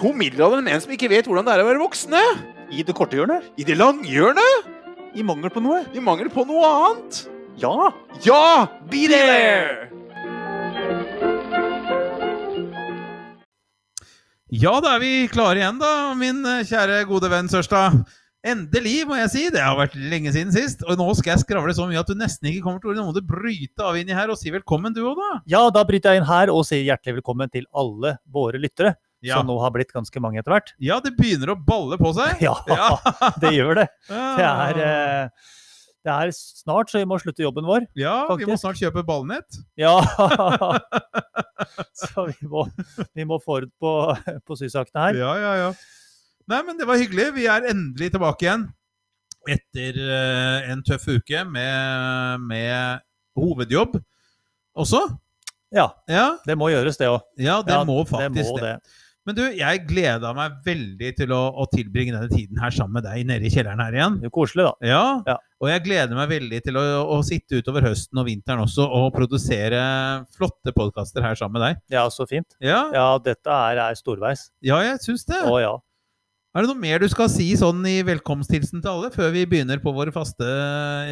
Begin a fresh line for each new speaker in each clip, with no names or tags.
To middelaldrende menn som ikke vet hvordan det er å være voksne.
I det korte hjørnet?
I det langhjørnet,
I mangel på noe?
i mangel på noe annet.
Ja!
Ja, be there!
Ja, da er vi klare igjen, da, min eh, kjære gode venn Sørstad. Endelig, må jeg si. Det har vært lenge siden sist. Og nå skal jeg skravle så mye at du nesten ikke kommer til ordet. Nå må du bryte av inni her og si velkommen, du òg, da.
Ja, da bryter jeg inn her og sier hjertelig velkommen til alle våre lyttere,
Ja.
som nå har blitt ganske mange etter hvert.
Sånn. ja, det begynner å balle på seg.
Ja, det gjør det. Det er,
ja.
eh, det er snart så vi må slutte jobben vår.
ja, vi må
faktisk.
snart kjøpe ballnett.
Ja. Så vi må, vi må forut på, på sysakene her.
Ja, ja, ja. Nei, men det var hyggelig. Vi er endelig tilbake igjen etter eh, en tøff uke med, med hovedjobb også.
Ja,
Ja,
det må gjøres det òg.
ja det
Ja,
må
Det
faktisk
må
det.
det.
Men du, jeg gleda meg veldig til å, å tilbringe denne tiden her sammen med deg nede i kjelleren her igjen.
Det er jo koselig, da.
Ja,
Ja.
Og jeg gleder meg veldig til å, å sitte utover høsten og vinteren også og produsere flotte podkaster her sammen med deg.
Ja, så fint.
Ja,
Ja, dette er, er storveis.
ja jeg syns det.
Å ja.
Er det noe mer du skal si sånn i velkomsthilsen til alle før vi begynner på våre faste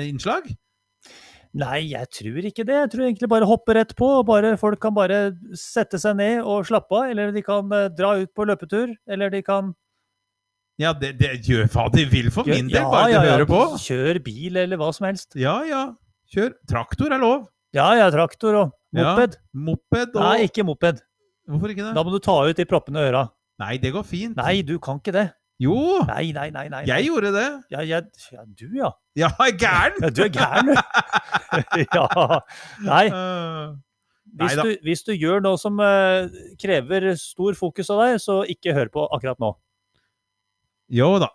innslag?
Nei, jeg tror ikke det. Jeg tror egentlig bare hoppe rett på. og Bare, folk kan bare sette seg ned og slappe av. Eller de kan eh, dra ut på løpetur. Eller de kan
Ja, det, det gjør hva de vil for min del,
Ja,
bare de
ja, ja,
hører på.
Kjør bil, eller hva som helst.
Ja, ja. Kjør. Traktor er lov.
Ja, ja, traktor og
Ja,
moped.
Moped og
Nei, ikke moped.
Hvorfor ikke
Da
det?
må du ta ut de proppene i øra.
Nei, det går fint.
Nei, du kan ikke det.
Jo,
Nei, nei, nei. nei.
jeg gjorde det.
ja, jeg, ja, du, ja.
Ja, jeg er gæren!
ja. Du er gæren, du. ja. Nei,
Eh,
hvis
Neida.
du, hvis du gjør noe som eh, krever stor fokus av deg, så ikke hør på akkurat nå.
jo da.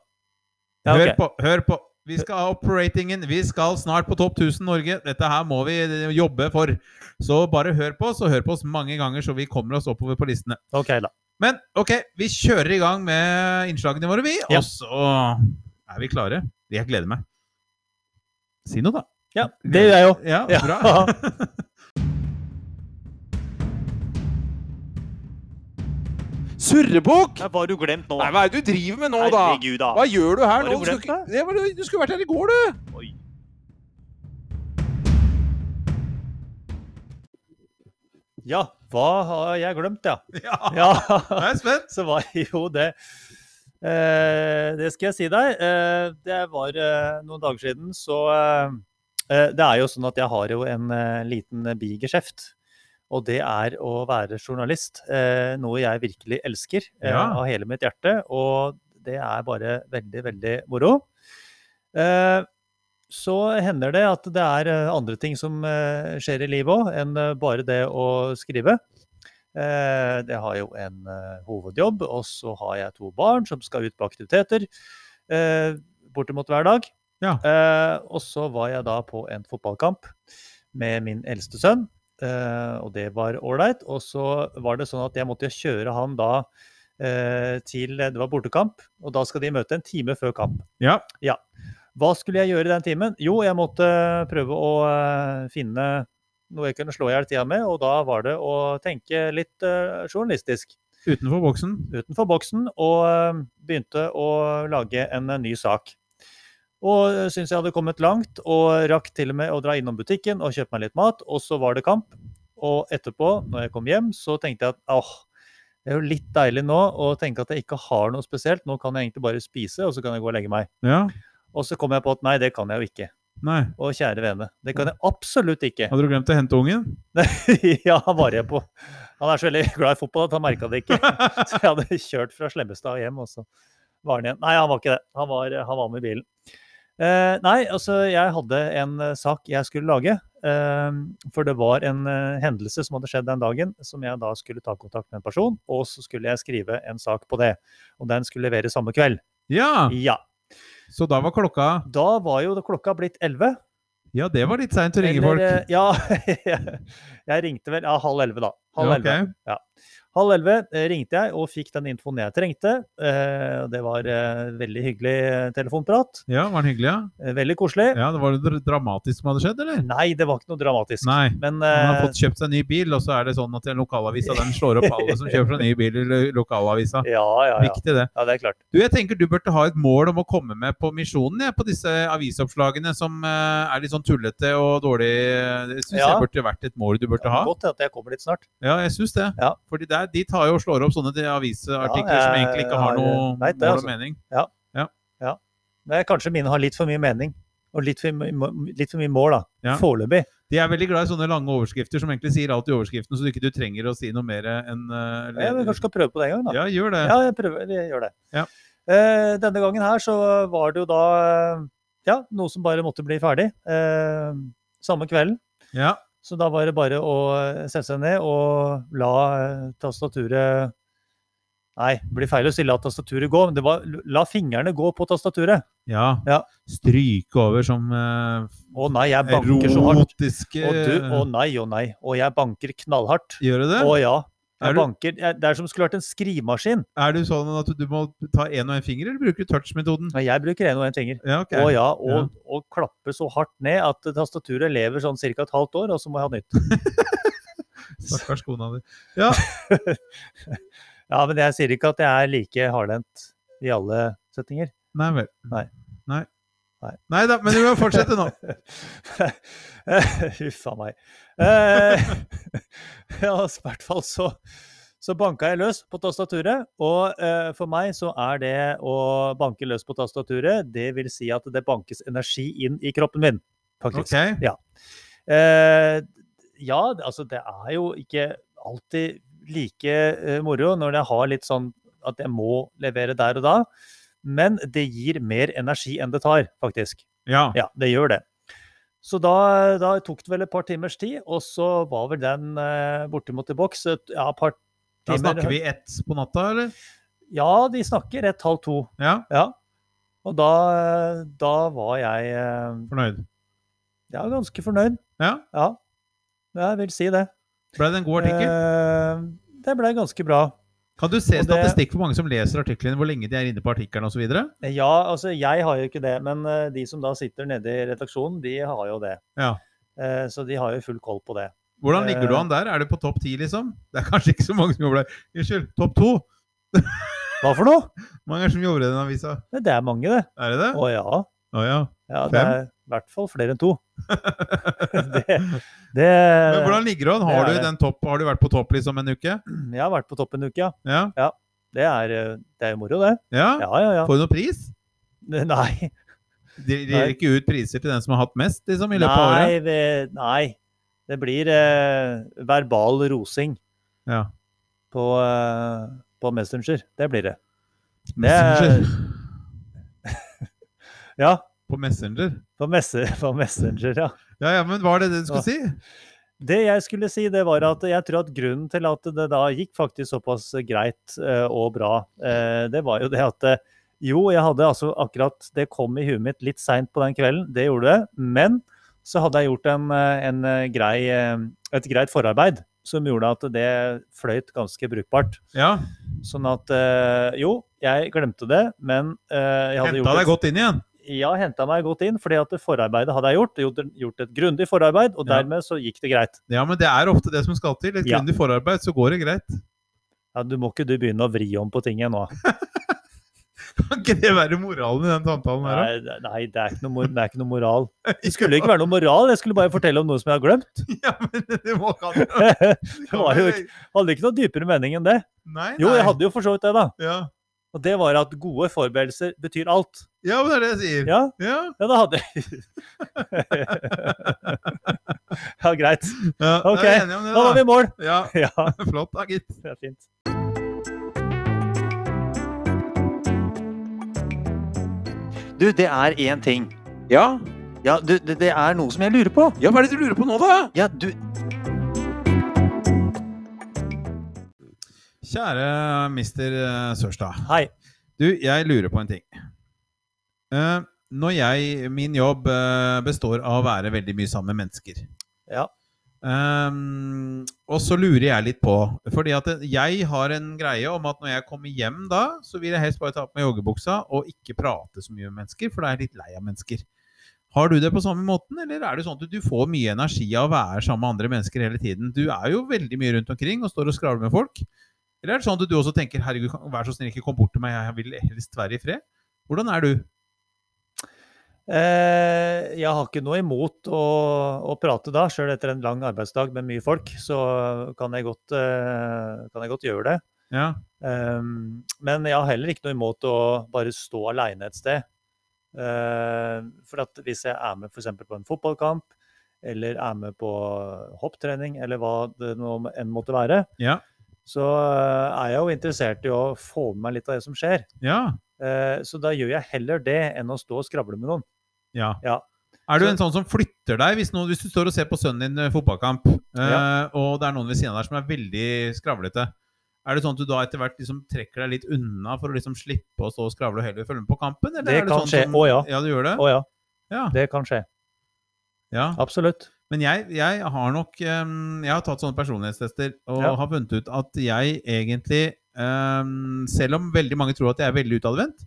Ja,
Hør
ok.
på, hør på. Vi skal ha operatingen. Vi skal snart på topp 1000 Norge. Dette her må vi eh, jobbe for. Så bare hør på oss, og hør på oss mange ganger, så vi kommer oss oppover på listene.
Ok, da.
Men OK, vi kjører i gang med innslagene våre, vi.
Ja.
Og så er vi klare. Jeg gleder meg. Si noe, da.
Ja, det gjør jeg jo.
Ja,
Ja.
bra.
Surrebukk!
Hva har du glemt nå?
Nei, hva er det du driver med nå, da? Hva gjør du her
Har
nå?
du
Du skulle,
glemt
ikke- det var, du skulle vært her i går, du!
Ja, hva har jeg glemt, ja?
ja.
Ja,
Jeg er spent.
så var jo det eh, Det skal jeg si deg. Eh, det var eh, noen dager siden, så eh, eh, Det er jo sånn at jeg har jo en eh, liten bigeskjeft. Og det er å være journalist. Eh, noe jeg virkelig elsker eh,
Ja.
av hele mitt hjerte. Og det er bare veldig, veldig moro. Eh, så hender det at det er eh, andre ting som eh, skjer i livet òg, enn eh, bare det å skrive. Eh, det har jo en eh, hovedjobb, og så har jeg to barn som skal ut på aktiviteter eh, bortimot hver dag.
Ja.
Eh, og så var jeg da på en fotballkamp med min eldste sønn, eh, og det var ålreit. Og så var det sånn at jeg måtte jo kjøre han da eh, til Det var bortekamp, og da skal de møte en time før kamp.
Ja.
Hva skulle jeg gjøre i den timen? Jo, jeg måtte prøve å eh, finne noe jeg kunne slå i hjel tida med, og da var det å tenke litt eh, journalistisk
Utenfor boksen.
utenfor boksen og eh, begynte å lage en eh, ny sak. Og eh, syntes jeg hadde kommet langt, og rakk til og med å dra innom butikken og kjøpe meg litt mat, og så var det kamp. Og etterpå, når jeg kom hjem, så tenkte jeg at åh, det er jo litt deilig nå å tenke at jeg ikke har noe spesielt, nå kan jeg egentlig bare spise, og så kan jeg gå og legge meg.
Ja.
Og så kom jeg på at nei, det kan jeg jo ikke.
Nei.
Og kjære vene, det kan jeg absolutt ikke.
Hadde du glemt å hente ungen?
ja, han var jeg på. Han er så veldig glad i fotball at han merka det ikke. Så jeg hadde kjørt fra Slemmestad hjem, og så var han igjen. Nei, han var ikke det. Han var, han var med i bilen. Eh, nei, altså, jeg hadde en eh, sak jeg skulle lage. eh, for det var en eh, hendelse som hadde skjedd den dagen, som jeg da skulle ta kontakt med en person, og så skulle jeg skrive en sak på det. Og den skulle leveres samme kveld.
Ja.
Ja.
Så da var klokka
Da var jo klokka blitt elleve.
Ja, det var litt seint å ringe
Eller,
folk.
eh, Ja, jeg ringte vel ja, halv elleve, da. Halv
Ja,
elleve.
ok.
Halv elleve eh, ringte jeg og fikk den infoen jeg trengte. Eh, og Det var eh, veldig hyggelig eh, telefonprat.
Ja, var den hyggelig, ja?
Eh, Veldig koselig.
ja? Det var det dr- dramatisk som hadde skjedd, eller?
Nei, det var ikke noe dramatisk.
Nei.
Men
Han har
eh,
fått kjøpt seg ny bil, og så er det sånn at den lokalavisa den slår opp alle som kjøper seg ny bil i lo- lokalavisa.
ja, ja, ja.
Viktig, det.
ja, det er klart.
Du, jeg tenker du burde ha et mål om å komme med på misjonen jeg, på disse avisoppslagene som eh, er litt sånn tullete og dårlig. Det syns
Ja.
jeg burde vært et mål du burde ha.
Godt at jeg kommer dit snart.
Ja, jeg syns det.
Ja.
Fordi der, de tar jo og slår opp sånne de- avisartikler
Ja,
som
jeg
egentlig ikke har
har-
noe
vet det,
mål og
altså.
mening.
Det er kanskje mine har litt for mye mening. Og litt for, my- litt for mye mål, da.
Ja.
Foreløpig.
De er veldig glad i sånne lange overskrifter som egentlig sier alt i overskriften, så du ikke du trenger å si noe mer enn eh,
Ja, men
leder.
kanskje skal prøve på det en gang, da.
Ja, gjør det.
Ja, jeg prøver, jeg gjør det.
Ja.
Eh, denne gangen her så var det jo da eh, ja, noe som bare måtte bli ferdig eh, samme kvelden.
Ja.
Så da var det bare å eh, sette seg ned og la eh, tastaturet Nei, det blir feil å si la tastaturet gå, men det var la fingrene gå på tastaturet.
ja.
Ja.
Stryke over som eh,
Å nei, jeg banker så hardt.
erotiske
Å du, å nei, å nei. Og jeg banker knallhardt.
Gjør du det?
Å ja.
Er
Jeg
du-
banker, jeg, det er som skulle vært en skrivemaskin.
Er du sånn at du må ta én og én finger, eller bruker du touch-metoden?
Nei, Jeg bruker en og en finger.
Ja, ok.
Å ja, og, og klappe så hardt ned at tastaturet lever sånn ca. et halvt år, og så må jeg ha nytt.
Stakkars kona di.
Ja, men jeg sier ikke at jeg er like hardhendt i alle setninger.
Nei vel.
Nei.
Nei.
Nei.
Nei da, men du må fortsette nå.
Huff a meg. Eh, ja, altså, i hvert fall så, så banka jeg løs på tastaturet. Og eh, for meg så er det å banke løs på tastaturet, det vil si at det bankes energi inn i kroppen min, faktisk.
Ok.
Eh, ja, det- altså det er jo ikke alltid like eh, moro når jeg har litt sånn at jeg må levere der og da. Men det gir mer energi enn det tar, faktisk.
Ja.
Ja, det gjør det. Så da, da tok det vel et par timers tid, og så var vel den eh, bortimot i boks. et- Ja, et par
Da
timer.
snakker vi ett på natta, eller?
Ja, de snakker ett, halv to.
Ja.
Ja. Og da, da var jeg eh,
Fornøyd.
ja, ganske fornøyd.
Ja.
Ja, jeg vil si det.
Ble det en god artikkel?
Eh, det ble ganske bra.
Kan du se
og det-
statistikk for mange som leser artiklene, hvor lenge de er inne på artikkelen osv.?
Ja, altså jeg har jo ikke det, men eh, de som da sitter nede i redaksjonen, de har jo det.
Ja.
Eh, Så de har jo full koll på det.
Hvordan ligger
Eh.
du an der? Er du på topp ti, liksom? Det er kanskje ikke så mange som jobber der. Unnskyld, topp to?
Hva for noe?
Hvor Mange er det som jobber i den avisa.
Nei, Det er mange, det.
Er det det?
Å ja.
Å ja.
ja det
Fem?
er i hvert fall flere enn to. det, det
Men hvordan ligger du an? Har
Eh, det er
du,
det.
den topp, har du vært på topp liksom en uke?
Jeg har vært på topp en uke, ja.
Ja?
Det er, eh, det er jo moro, det.
ja?
Ja, ja, ja.
Får du noen pris?
Nei.
De de gir
Nei.
ikke ut priser til den som har hatt mest liksom, i løpet av året?
Nei, vi, nei. Det blir eh, verbal rosing
Ja.
på, eh, på Messenger. Det blir det.
Messenger.
Ja,
På Messenger?
På, messe, på Messenger, ja.
Ja, ja, men hva er det det du skulle
Åh.
si?
Det jeg skulle si, det var at jeg tror at grunnen til at det da gikk faktisk såpass greit eh, og bra, eh, det var jo det at eh, jo, jeg hadde altså akkurat Det kom i huet mitt litt seint på den kvelden, det gjorde det. Men så hadde jeg gjort en, eh, en eh, grei, eh, et greit forarbeid som gjorde at det fløyt ganske brukbart.
Ja,
Sånn at eh, Jo, jeg glemte det, men eh, jeg hadde gjort
Henta
et-
deg godt inn igjen?
ja, henta meg godt inn, fordi at det forarbeidet hadde jeg gjort. Gjort, gjort et grundig forarbeid, og
Ja.
dermed så gikk det greit.
Ja, men det er ofte det som skal til. Et
Ja.
grundig forarbeid, så går det greit.
Ja, Du må ikke du begynne å vri om på tinget nå.
Kan ikke det være moralen i den samtalen her, da?
Nei, det- nei det, er ikke noe, mor- det er ikke noe moral. Det skulle ikke være noe moral, jeg skulle bare fortelle om noe som jeg har glemt.
Ja, men det må kan jo
det var jo ikke, hadde ikke noe dypere mening enn det.
Nei, nei.
Jo, jeg hadde jo for så vidt det, da.
ja.
Og det var at gode forberedelser betyr alt.
ja, men det er det jeg sier.
Ja,
Ja.
ja da hadde jeg Ja, greit.
ja.
Ok,
Da er vi enige om det,
Da var vi i mål.
Ja,
Ja,
flott da, gitt.
det er fint.
Du, det er én ting.
Ja.
Ja, du, det, det er noe som jeg lurer på.
ja, hva er det du lurer på nå, da?
Ja, du
Kjære mister eh, Sørstad.
Hei.
Du, jeg lurer på en ting. Eh, når jeg Min jobb eh, består av å være veldig mye sammen med mennesker.
Ja.
Ehm, og så lurer jeg litt på Fordi at jeg har en greie om at når jeg kommer hjem da, så vil jeg helst bare ta på meg joggebuksa og ikke prate så mye med mennesker, for da er jeg litt lei av mennesker. Har du det på samme måten, eller er det sånn at du får mye energi av å være sammen med andre mennesker hele tiden? Du er jo veldig mye rundt omkring og står og skravler med folk. Eller er det sånn at du også tenker 'herregud, kan- vær så snill, ikke kom bort til meg, jeg vil helst være i fred'? Hvordan er du?
Eh, jeg har ikke noe imot å, å prate da, sjøl etter en lang arbeidsdag med mye folk. Så kan jeg godt, eh, kan jeg godt gjøre det.
Ja.
Ehm, men jeg har heller ikke noe imot å bare stå aleine et sted. Eh, for at hvis jeg er med f.eks. på en fotballkamp, eller er med på hopptrening, eller hva det nå enn måtte være,
Ja.
så eh, er jeg jo interessert i å få med meg litt av det som skjer.
Ja.
Eh, så da gjør jeg heller det enn å stå og skravle med noen.
ja.
Ja.
Er du
Så-
en sånn som flytter deg hvis, noen, hvis du står og ser på sønnen din eh, fotballkamp, eh, og det er noen ved siden av deg som er veldig skravlete? Er det sånn at du da etter hvert liksom trekker deg litt unna for å liksom slippe å stå og skravle og heller følge med på kampen? Eller
Det
er
kan
sånn
skje.
som-
Å, ja.
Ja, du gjør det?
Å ja,
Ja.
det kan skje.
ja.
Absolutt.
Men jeg, jeg har nok ehm, Jeg har tatt sånne personlighetstester og
Ja.
har funnet ut at jeg egentlig ehm, Selv om veldig mange tror at jeg er veldig utadvendt,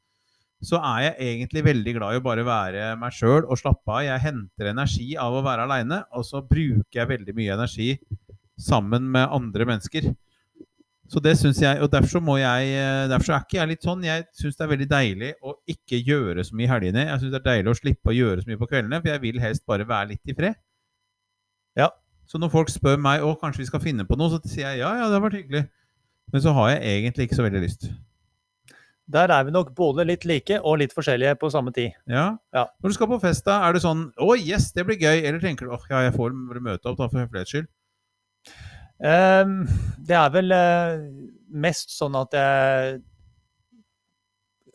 så er jeg egentlig veldig glad i å bare være meg sjøl og slappe av. Jeg henter energi av å være aleine, og så bruker jeg veldig mye energi sammen med andre mennesker. Så det synes jeg, og Derfor så må jeg, eh, derfor så er ikke jeg litt sånn. Jeg syns det er veldig deilig å ikke gjøre så mye i helgene. Jeg synes det er deilig å slippe å gjøre så mye på kveldene, for jeg vil helst bare være litt i fred. Så når folk spør meg å, kanskje vi skal finne på noe, så sier jeg ja, ja, det har vært hyggelig. Men så har jeg egentlig ikke så veldig lyst.
Der er vi nok både litt like og litt forskjellige på samme tid.
Ja.
Ja.
Når du skal på fest, da, er det sånn å, yes, det blir gøy, eller tenker du åh, ja, jeg får møte opp da for høflighets skyld?
Ehm, det er vel eh, mest sånn at jeg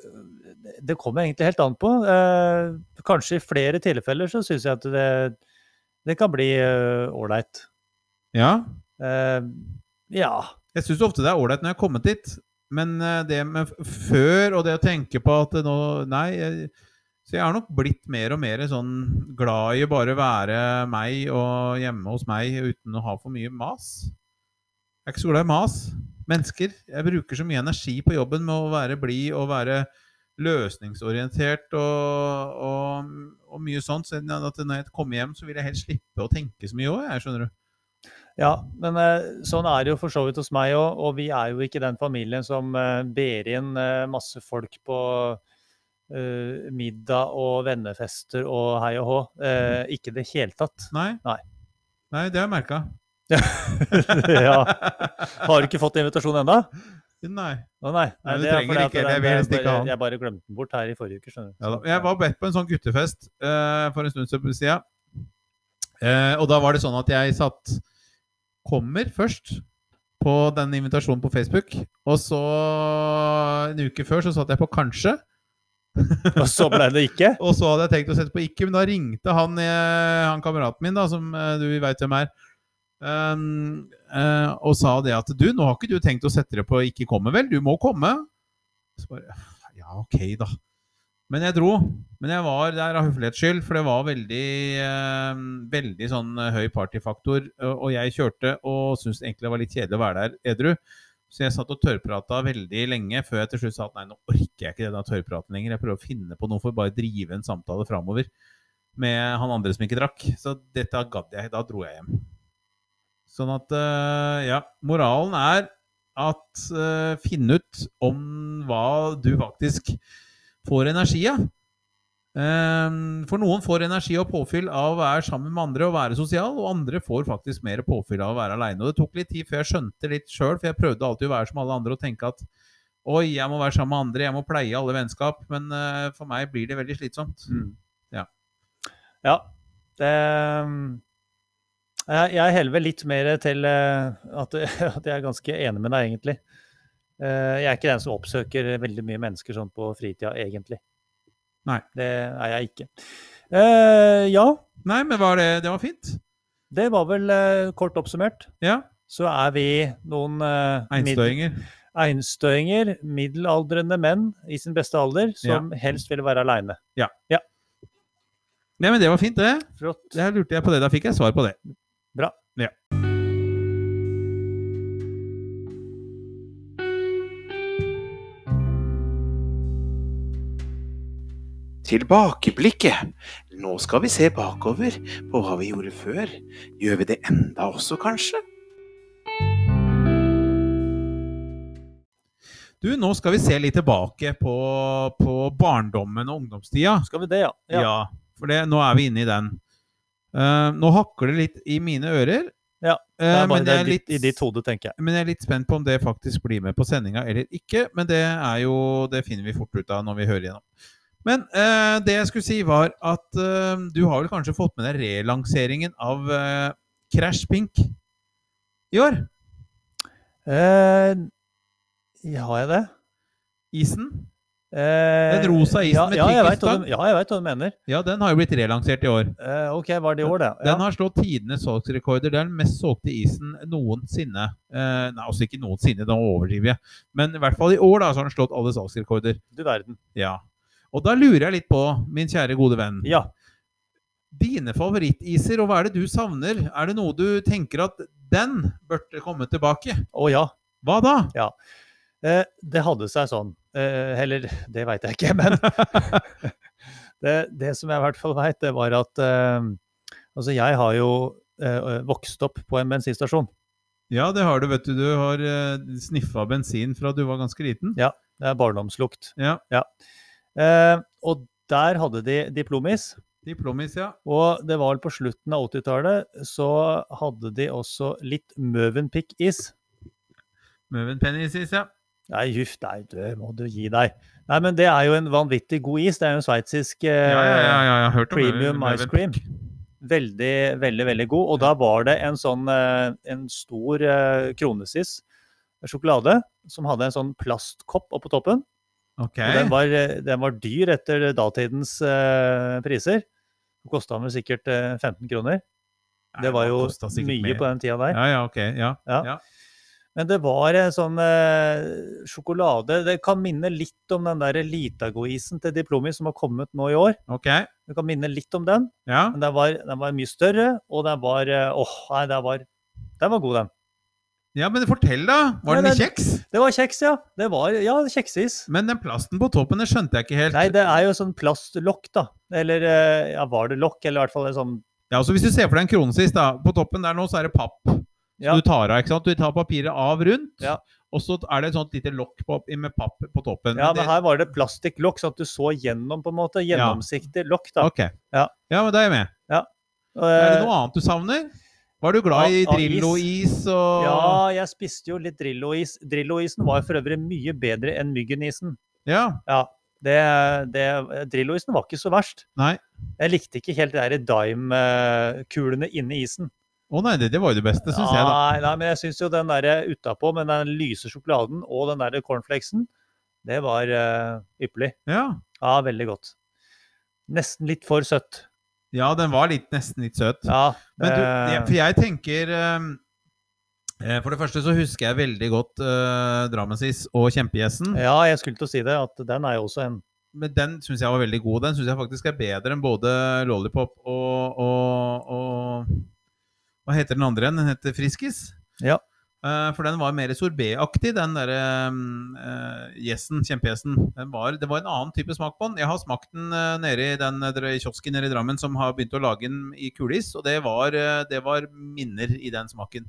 eh, Det kommer egentlig helt an på. Eh, kanskje i flere tilfeller så syns jeg at det, det kan bli eh, ålreit.
Ja.
Ehm, ja.
Jeg syns ofte det er ålreit når jeg har kommet dit, men eh, det med f- før og det å tenke på at det nå Nei. Jeg, så jeg har nok blitt mer og mer sånn glad i å bare være meg og hjemme hos meg uten å ha for mye mas. Jeg er ikke så glad i mas. Mennesker. Jeg bruker så mye energi på jobben med å være blid og være løsningsorientert og, og, og mye sånt. Så at når jeg kommer hjem, så vil jeg helst slippe å tenke så mye òg, jeg, skjønner du.
Ja, men eh, sånn er det jo for så vidt hos meg òg. Og vi er jo ikke den familien som eh, ber inn eh, masse folk på eh, middag og vennefester og hei og hå. Eh, ikke i det hele tatt.
Nei.
Nei.
Nei, det har jeg merka.
ja. Har du ikke fått invitasjon ennå?
Nei.
Å nei. nei
Nei, du
det er
trenger
fordi at
ikke, det
den-
vil helst ikke
bare,
ha den.
jeg bare glemte den bort her i forrige uke, skjønner du.
Ja, da. Jeg var bedt på en sånn guttefest eh, for en stund siden. siden. Eh, og da var det sånn at jeg satt Kommer først på den invitasjonen på Facebook. Og så en uke før så satt jeg på kanskje.
Og så ble det ikke?
Og så hadde jeg tenkt å sette på ikke, men da ringte han, eh, han kameraten min, da, som eh, du veit hvem er, ehm, eh, og sa det at du, nå har ikke du tenkt å sette det på ikke komme, vel? Du må komme. Så bare Ja, ok, da. Men jeg dro. Men jeg var der av høflighets skyld, for det var veldig, eh, veldig sånn eh, høy partyfaktor. og- Og jeg kjørte og syntes egentlig det var litt kjedelig å være der edru. Så jeg satt og tørrprata veldig lenge før jeg til slutt sa at nei, nå orker jeg ikke denne tørrpraten lenger. Jeg prøver å finne på noe for å bare drive en samtale framover med han andre som ikke drakk. Så dette gadd jeg. Da dro jeg hjem. Sånn at eh, Ja. Moralen er at eh, finn ut om hva du faktisk får energi av. Ehm, for noen får energi og påfyll av å være sammen med andre og være sosial, og andre får faktisk mer påfyll av å være aleine. Det tok litt tid før jeg skjønte litt sjøl, for jeg prøvde alltid å være som alle andre og tenke at oi, jeg må være sammen med andre, jeg må pleie alle vennskap, men eh, for meg blir det veldig slitsomt.
Ja. Det, jeg, jeg helver litt mer til eh, at, at jeg er ganske enig med deg, egentlig. Eh, Jeg er ikke den som oppsøker veldig mye mennesker sånn på fritida, egentlig.
Nei.
Det er jeg ikke. Eh, ja,
Nei, men var det, det var fint.
det var vel eh, kort oppsummert.
Ja.
Så er vi noen eh, midd-
Einstøinger.
einstøinger, middelaldrende menn i sin beste alder, som helst ville være aleine.
Nei, men det var fint, det.
Flott.
Der lurte jeg på det. Da fikk jeg svar på det.
Bra.
Ja.
Tilbakeblikket. Nå skal vi se bakover på hva vi gjorde før. Gjør vi det enda også, kanskje?
Du, nå skal vi se litt tilbake på, på barndommen og ungdomstida.
Skal vi det, ja?
Ja, for det, nå er vi inne i den. Eh, nå hakker det litt i mine ører.
Ja,
Eh,
Det er bare
men, jeg er
litt...
litt,
i ditt hode, tenker jeg.
men jeg er litt spent på om det faktisk blir med på sendinga eller ikke. Men det er jo Det finner vi fort ut av når vi hører gjennom. Men eh, det jeg skulle si, var at eh, du har vel kanskje fått med deg relanseringen av eh, Crash Pink i år?
Eh, ja, har jeg det?
Isen?
Eh,
Den rosa isen
ja,
med
ja, jeg
trikken
vet hva
stang.
du- Ja, jeg veit hva du mener.
Ja, den har jo blitt relansert i år.
Eh, ok, var det i år, det? Ja.
Den har slått tidenes salgsrekorder. Det er den mest solgte isen noensinne. Eh, nei, altså ikke noensinne, da overdriver jeg. Men i hvert fall i år da, så har den slått alle salgsrekorder.
Du verden.
Ja. Og da lurer jeg litt på, min kjære gode venn,
Ja.
dine favorittiser, og hva er det du savner? Er det noe du tenker at den burde komme tilbake?
Å ja.
Hva da?
Eh, det hadde seg sånn. Eh, eller det veit jeg ikke, men det, det som jeg i hvert fall veit, det var at eh, Altså, jeg har jo eh, vokst opp på en bensinstasjon.
Ja, det har du, vet du. Du har eh, sniffa bensin fra du var ganske liten.
Det er barndomslukt.
Ja.
Eh, og der hadde de diplomis.
Diplomis, ja.
Og det var vel på slutten av 80-tallet så hadde de også litt Møvenpick-is.
Møvenpennisis, ja.
Nei, juff, nei, det må du gi deg. Nei, men det er jo en vanvittig god is. Det er jo en sveitsisk eh,
Ja, ja, ja, ja, jeg har hørt om
premium
Møven-
ice cream. Veldig, veldig, veldig god. Og da var det en sånn eh, en stor eh, kronesis eh, sjokolade som hadde en sånn plastkopp oppå toppen.
Ok.
Og den var, eh, den var dyr etter datidens eh, priser. Kosta vel sikkert eh, 15 kroner.
Nei,
Det var
den
jo
kostet sikkert
mye
mer.
på den tida der.
Ja, ja, ok. Ja.
Ja. Men det var en sånn eh, sjokolade Det kan minne litt om den der Litago-isen til Diplomi som har kommet nå i år.
Ok.
Det kan minne litt om den,
Ja.
men den var, den var mye større, og den var eh, Åh, nei, den var, den var god, den.
ja, men fortell, da. Var
Nei,
den i
den-
kjeks?
Det var kjeks, ja. Det var, ja, kjekseis.
Men den plasten på toppen, det skjønte jeg ikke helt.
Nei, det er jo sånn plastlokk, da. Eller eh, ja, var det lokk? Eller i hvert fall en sånn
Ja, altså Hvis du ser for deg en kronesis, da. På toppen der nå så er det papp. Så
Ja.
du tar av, ikke sant? Du tar papiret av rundt,
Ja.
og så er det et sånt lite lokk på, med papp på toppen. Men
Ja, men
det,
her var det plastikklokk, sånn at du så gjennom, på en måte.
Ja.
Gjennomsiktig lokk, da. Eh,
Ok.
Ja.
men da er jeg med. Er det noe annet du savner? Var du glad i
Ja, av is.
Drillo-is og
Ja, jeg spiste jo litt Drillo-is. Drillo-isen var for øvrig mye bedre enn Myggen-isen.
ja.
Det, det, Drillo-isen var ikke så verst.
Nei.
Jeg likte ikke helt de der dime-kulene inni isen.
Å nei, det, det var jo det beste, syns jeg, da.
Nei, nei, men jeg syns jo den der utapå med den lyse sjokoladen og den der cornflakesen, det var eh, ypperlig.
Ja.
Ja, veldig godt. Nesten litt for søtt.
ja, den var litt, nesten litt søt.
Ja.
Men du,
eh,
jeg, for jeg tenker ehm, eh, eh, For det første så husker jeg veldig godt eh, Drammensis og Kjempegjessen.
ja, jeg skulle til å si det, at den er jo også en
Men den syns jeg var veldig god. Den syns jeg faktisk er bedre enn både Lollipop og, og, og Hva heter den andre igjen? Den heter Friskis.
Ja.
Eh, for den var mer sorbetaktig, den derre eh, gjessen, kjempegjessen. Den var, det var en annen type smak på den. Jeg har smakt den eh, nede i den eh, kiosken nede i Drammen som har begynt å lage den i kuleis, og det var, eh, det var minner i den smaken.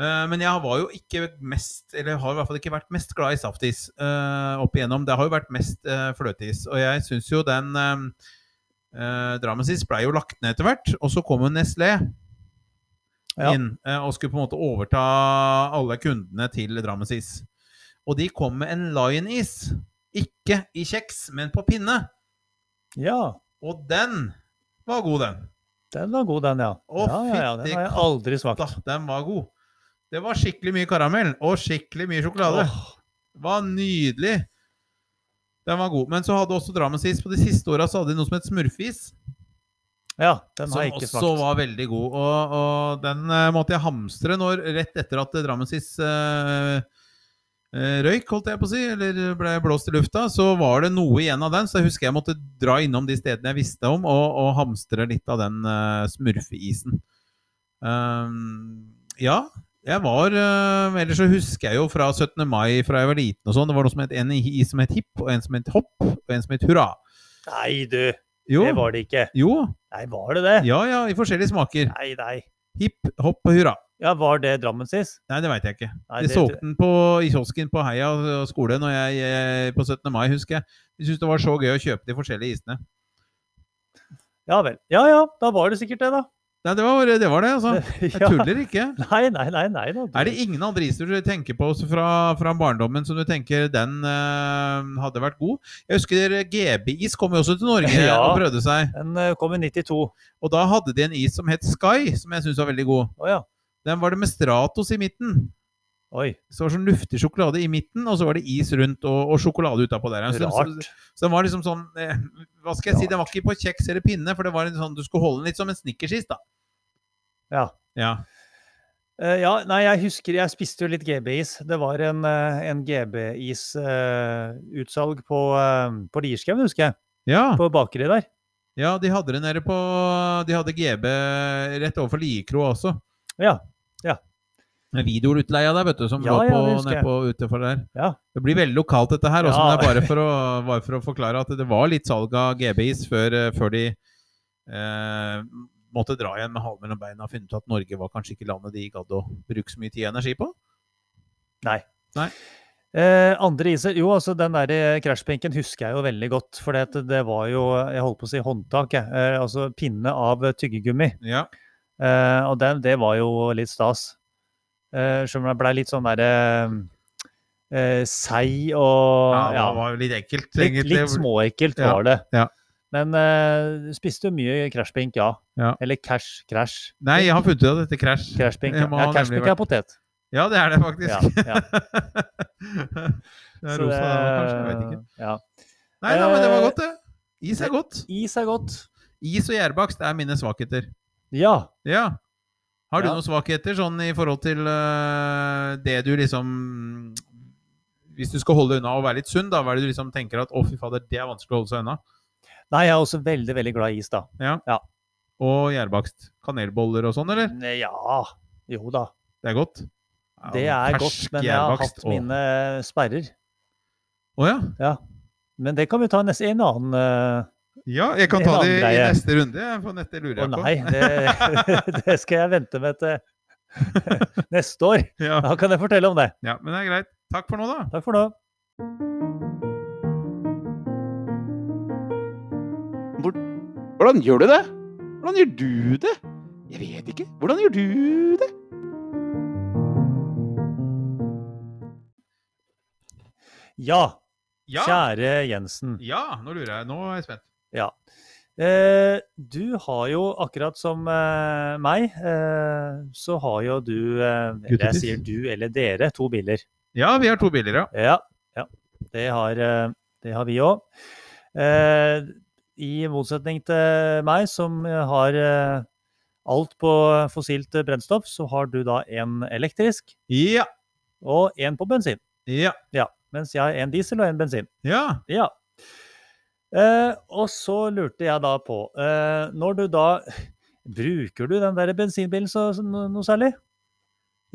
Eh, Men jeg var jo ikke mest Eller har i hvert fall ikke vært mest glad i saftis eh, opp igjennom. Det har jo vært mest eh, fløteis. Og jeg syns jo den eh, eh, Drammensis blei jo lagt ned etter hvert. Og så kom jo Nestlé
Ja.
inn eh, og skulle på en måte overta alle kundene til Drammensis. Og de kom med en Lion-is. Ikke i kjeks, men på pinne.
Ja,
Og den var god, den.
den var god, den, ja.
Å,
ja, ja, ja,
fytti
den har jeg aldri smakt.
Da, den var god. Det var skikkelig mye karamell og skikkelig mye sjokolade.
Åh.
var nydelig. Den var god. Men så hadde også Drammensis på de siste åra så hadde de noe som het smurfis.
Ja, den
Som
har jeg ikke
også
smakt.
var veldig god. Og, og den eh, måtte jeg hamstre når, rett etter at eh, Drammensis eh, eh, røyk, holdt jeg på å si, eller ble blåst i lufta. Så var det noe igjen av den, så jeg husker jeg måtte dra innom de stedene jeg visste om, og, og hamstre litt av den eh, smurfeisen. Ehm, ja. Jeg var, eh, Ellers så husker jeg jo fra 17. mai fra jeg var liten og sånn. Det var noe som het en i- is som het hipp, og en som het hopp, og en som het hurra.
Nei, du.
Jo.
Det var det ikke.
Jo.
Nei, var det det?
Ja ja, i forskjellige smaker.
Nei, nei.
Hipp, hopp og hurra.
Ja, var det Drammen sist?
Nei, det veit jeg ikke.
Nei,
De
det-
solgte den på, i kiosken på Heia skole når jeg, eh, på 17. mai, husker jeg. De syntes det var så gøy å kjøpe de forskjellige isene.
Ja vel. Ja ja, da var det sikkert det, da.
Nei, det var det, var det altså.
Det-
Jeg
ja.
tuller ikke.
Nei, nei, nei. nei da.
Er det ingen andre iser du tenker på også fra, fra barndommen som du tenker den eh, hadde vært god? Jeg husker GB-is kom jo også til Norge
Ja.
og prøvde seg.
Den eh, kom i 92. Å
Og da hadde de en is som het Sky, som jeg syns var veldig god.
ja.
Den var det med Stratos i midten.
Oi.
Så det var sånn luftig sjokolade i midten, og så var det is rundt og, og sjokolade utapå der. Så, så,
Rart.
så den var liksom sånn eh, Hva skal jeg si? Den var ikke på kjeks eller pinne, for det var en sånn du skulle holde den litt som en snickersis, da.
Ja.
Ja.
Eh, ja, nei, jeg husker jeg spiste jo litt GB-is. Det var en, eh, en GB-is-utsalg på, eh, på Lierskauen, husker jeg.
ja.
På bakeriet der.
Ja, de hadde det nede på De hadde GB rett overfor Liekro også.
Ja, ja.
Med videoutleia der, vet du, som
Ja,
lå
ja,
på,
det husker
nede
jeg.
på utenfor der.
Ja.
Det blir veldig lokalt, dette her, også,
Ja.
men det er bare for, å, bare for å forklare at det var litt salg av GB-is før, eh, før de eh, måtte dra igjen med halen mellom beina og finne ut at Norge var kanskje ikke landet de gadd å bruke så mye tid og energi på.
Eh, andre iser Jo, altså den der eh, krasjbenken husker jeg jo veldig godt. For det, det var jo Jeg holdt på å si håndtak, jeg. Eh, altså pinne av eh, tyggegummi.
Ja.
Eh, og den, det var jo litt stas. Eh, Selv om det blei litt sånn derre eh, seig og
ja,
ja,
det var jo litt ekkelt.
litt,
egentlig.
litt småekkelt
Ja,
var det.
ja.
Men eh, spiste jo mye krasjbink, ja.
Ja.
Eller cash, crash.
Nei, jeg har funnet ut at dette krasj.
Krasjbink
Det
ja.
må
Ja,
ha nemlig
crashbink er potet.
Ja, det er det faktisk.
Ja, ja.
det er
Så
rosa, kanskje. Jeg vet ikke.
det- Ja.
Nei da, men det var
Eh,
godt, det. Is er godt.
Is er godt.
Is og gjærbakst er mine svakheter.
Ja.
Ja. Har du
Ja.
noen svakheter sånn i forhold til øh, det du liksom Hvis du skal holde unna og være litt sunn, da, hva er det du liksom tenker at å, fy fader, det er vanskelig å holde seg unna?
Nei, jeg er også veldig, veldig glad i is, da.
Og gjærbakst. Kanelboller og sånn, eller?
Nei, eh, Ja. Jo da.
Det er godt. Ja,
Det
men
er godt,
fersk
men jeg har
gjærbakst,
hatt
å.
mine eh, sperrer.
Å ja.
Men det kan vi ta neste, en annen eh,
ja. Jeg kan
Det er
ta
en
det
annen
i
greie.
neste runde, jeg, for dette lurer
Å
jeg på.
nei, det, det skal jeg vente med til neste år.
Ja.
Da kan jeg fortelle om det.
ja, men det er greit. Takk for nå, da.
Takk for nå.
Hvordan gjør du det? Hvordan gjør du det? Jeg vet ikke. Hvordan gjør du det?
Ja,
Ja.
kjære Jensen.
ja, nå lurer jeg. Nå er jeg spent.
Ja. Eh, du har jo, akkurat som eh, meg, eh, så har jo du eh, Eller jeg
Guttetiss.
sier du eller dere, to biler.
Ja, vi har to biler, ja.
Ja, ja. Det, har, eh, det har vi òg. Eh, I motsetning til meg, som eh, har eh, alt på fossilt eh, brennstoff, så har du da en elektrisk
Ja.
og en på bensin.
Ja.
Mens jeg har en diesel og en bensin.
ja.
Ja. Eh, og så lurte jeg da på eh, Når du da Bruker du den der bensinbilen så, så, no- noe særlig?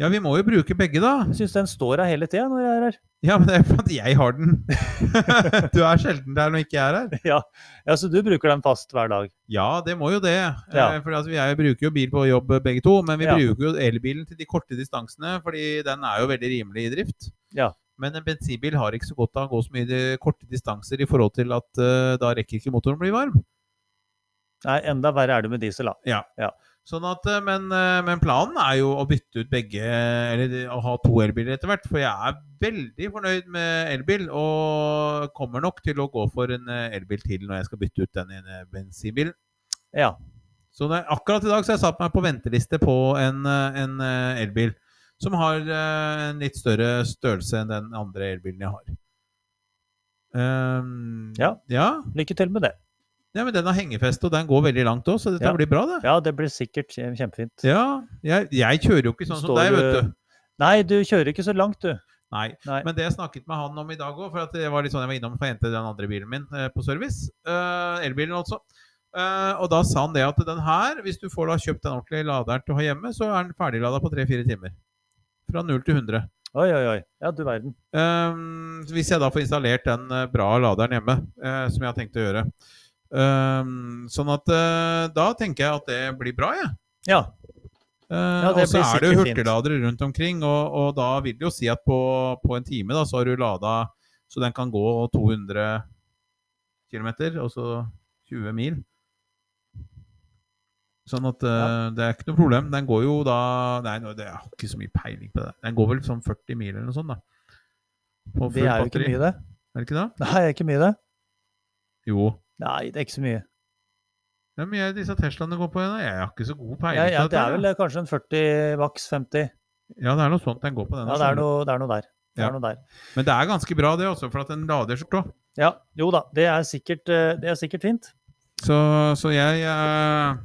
Ja, vi må jo bruke begge, da.
Jeg syns den står her hele tida når jeg er her.
Ja, men det er fordi jeg har den. du er sjelden der når ikke jeg er her.
Ja, ja Så du bruker den fast hver dag?
Ja, det må jo det.
Ja.
Eh, For altså, vi er, jo- bruker jo bil på jobb eh, begge to, men vi
Ja.
bruker jo elbilen til de korte distansene, fordi den er jo veldig rimelig i drift.
Ja.
Men en bensinbil har ikke så godt av å gå så mye de korte distanser i forhold til at eh, da rekker ikke motoren å bli varm.
Nei, enda verre er det med diesel, da.
Sånn at, eh, men, eh, men planen er jo å bytte ut begge, eller de- å ha to elbiler etter hvert. For jeg er veldig fornøyd med elbil, og kommer nok til å gå for en eh, elbil til når jeg skal bytte ut den ene bensinbilen.
Ja.
Så det, er- akkurat i dag så har jeg satt meg på venteliste på en, eh, en eh, elbil. Som har eh, en litt større størrelse enn den andre elbilen jeg har. Ehm,
Ja.
ja.
Lykke til med det.
Ja, men den har hengefeste, og den går veldig langt òg, så dette
Ja.
blir bra, det.
Ja, det blir sikkert kje- kjempefint.
Ja, jeg, jeg kjører jo ikke sånn som
Står
deg, vet
du-
du.
Nei, du kjører ikke så langt, du.
Nei.
Nei.
Men det jeg snakket med han om i dag òg, for at det var litt sånn jeg var innom for å hente den andre bilen min eh, på service. Eh, elbilen, altså. Eh, og da sa han det at den her, hvis du får da kjøpt den ordentlige laderen du har hjemme, så er den ferdiglada på 3-4 timer. Fra 0 til 100.
Oi, oi, oi. Ja, du verden.
Ehm, hvis jeg da får installert den eh, bra laderen hjemme, eh, som jeg har tenkt å gjøre. Ehm, sånn at eh, da tenker jeg at det blir bra, jeg.
Ja.
Eh,
det
og så
blir
er det jo
sikkert fint.
hurtigladere rundt omkring, og, og da vil det jo si at på, på en time da, så har du lada så den kan gå 200 km, altså 20 mil. Sånn at eh, det er ikke noe problem. Den går jo da Nei, nå- det jeg har ikke så mye peiling på det. Den går vel sånn 40 mil eller noe sånt, da. På
Det
full
er jo ikke
batteri.
mye, det.
Er det ikke det?
Nei, det er ikke mye, det.
Jo.
Nei, det er ikke så mye.
Det er mye disse Teslaene går på igjen. da. Jeg har ikke så god peiling
Ja, ja,
på
det
dette.
er
her,
vel eh, kanskje en 40, maks 50.
da. Ja, det er noe sånt den går på. Den
Ja, det er noe, det er noe der. Det
Ja.
er noe der.
Men det er ganske bra, det også, for at den lader så trått.
Ja, jo da, det er sikkert, eh, det er sikkert fint.
Så, så jeg eh,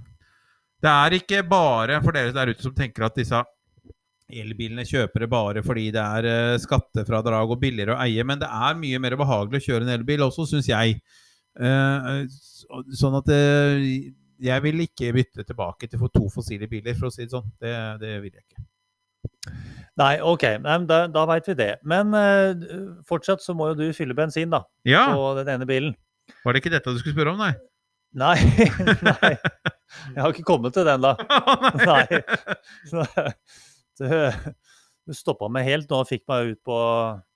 Det er ikke bare for dere der ute som tenker at disse elbilene kjøper det bare fordi det er eh, skattefradrag og billigere å eie, men det er mye mer behagelig å kjøre en elbil også, syns jeg. Eh, så- sånn at eh, jeg vil ikke bytte tilbake til to fossile biler, for å si det sånn. Det, det vil jeg ikke.
Nei, OK, Nei, men da, da veit vi det. Men eh, fortsatt så må jo du fylle bensin, da,
Ja,
på den ene bilen.
var det ikke dette du skulle spørre om, nei?
Nei, nei. Jeg har ikke kommet til den, da. Nei. Så, du du stoppa meg helt nå og fikk meg ut på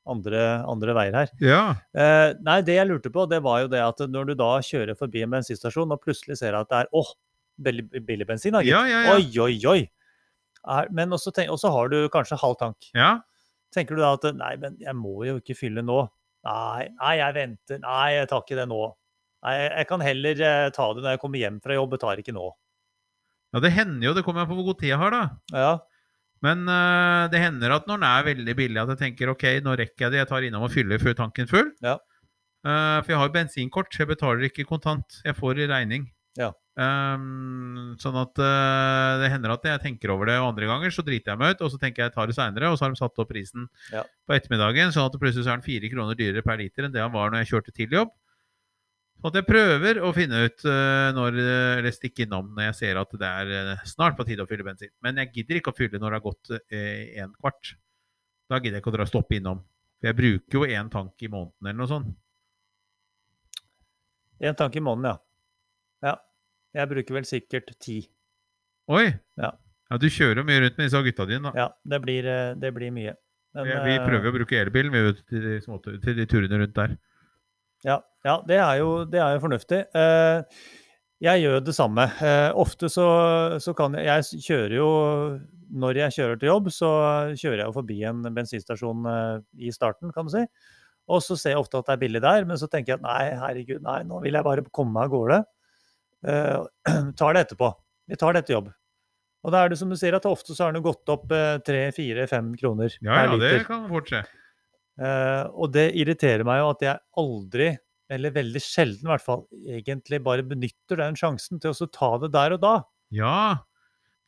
andre, andre veier her.
Ja.
Eh, nei, det jeg lurte på, det var jo det at når du da kjører forbi en bensinstasjon og plutselig ser at det er åh, veldig billig bensin, da, gitt.
Ja, ja, ja.
Oi, oi, oi. Er, men også, tenk, også har du kanskje halv tank.
ja.
Tenker du da at nei, men jeg må jo ikke fylle nå. Nei, nei, jeg venter. Nei, jeg tar ikke det nå. Nei, jeg kan heller eh, ta det når jeg kommer hjem fra jobb, jeg tar ikke nå.
Ja, det hender jo. Det kommer an på hvor god tid jeg har, da.
Ja,
Men eh, det hender at når den er veldig billig, at jeg tenker ok, nå rekker jeg det. Jeg tar innom og fyller før tanken full.
Ja.
Eh, for jeg har jo bensinkort, så jeg betaler ikke kontant. Jeg får i regning.
Ja.
Ehm, sånn at eh, det hender at jeg tenker over det, og andre ganger så driter jeg meg ut, og så tenker jeg jeg tar det seinere, og så har de satt opp prisen
Ja.
på ettermiddagen, sånn at plutselig så er den fire kroner dyrere per liter enn det han var når jeg kjørte til jobb. Sånn at jeg prøver å finne ut eh, når eh, Eller stikke innom når jeg ser at det er eh, snart på tide å fylle bensin. Men jeg gidder ikke å fylle når det har gått eh, en kvart. Da gidder jeg ikke å dra stoppe innom. For jeg bruker jo én tank i måneden eller noe sånt.
en tanke i måneden, ja. Ja, jeg bruker vel sikkert ti.
Oi!
Ja.
Ja, Du kjører jo mye rundt med disse gutta dine, da.
Ja, det blir, eh, det blir mye. Men,
Vi- Vi
eh,
prøver jo å bruke elbilen vi, vet, til, de små, til de turene rundt der.
Ja, ja det, er jo, det er jo fornuftig. Eh, jeg gjør det samme. Eh, ofte så, så kan jeg Jeg s- kjører jo Når jeg kjører til jobb, så kjører jeg jo forbi en bensinstasjon eh, i starten, kan du si. Og så ser jeg ofte at det er billig der, men så tenker jeg at nei, herregud, nei, nå vil jeg bare komme meg av gårde. Eh, tar det etterpå. Vi tar det etter jobb. Og da er det som du sier, at ofte så har den jo gått opp eh, tre-fire-fem kroner
Ja, ja, det kan fort skje.
Eh, og det irriterer meg jo at jeg aldri, eller veldig sjelden i hvert fall, egentlig bare benytter den sjansen til å så ta det der og da.
Ja!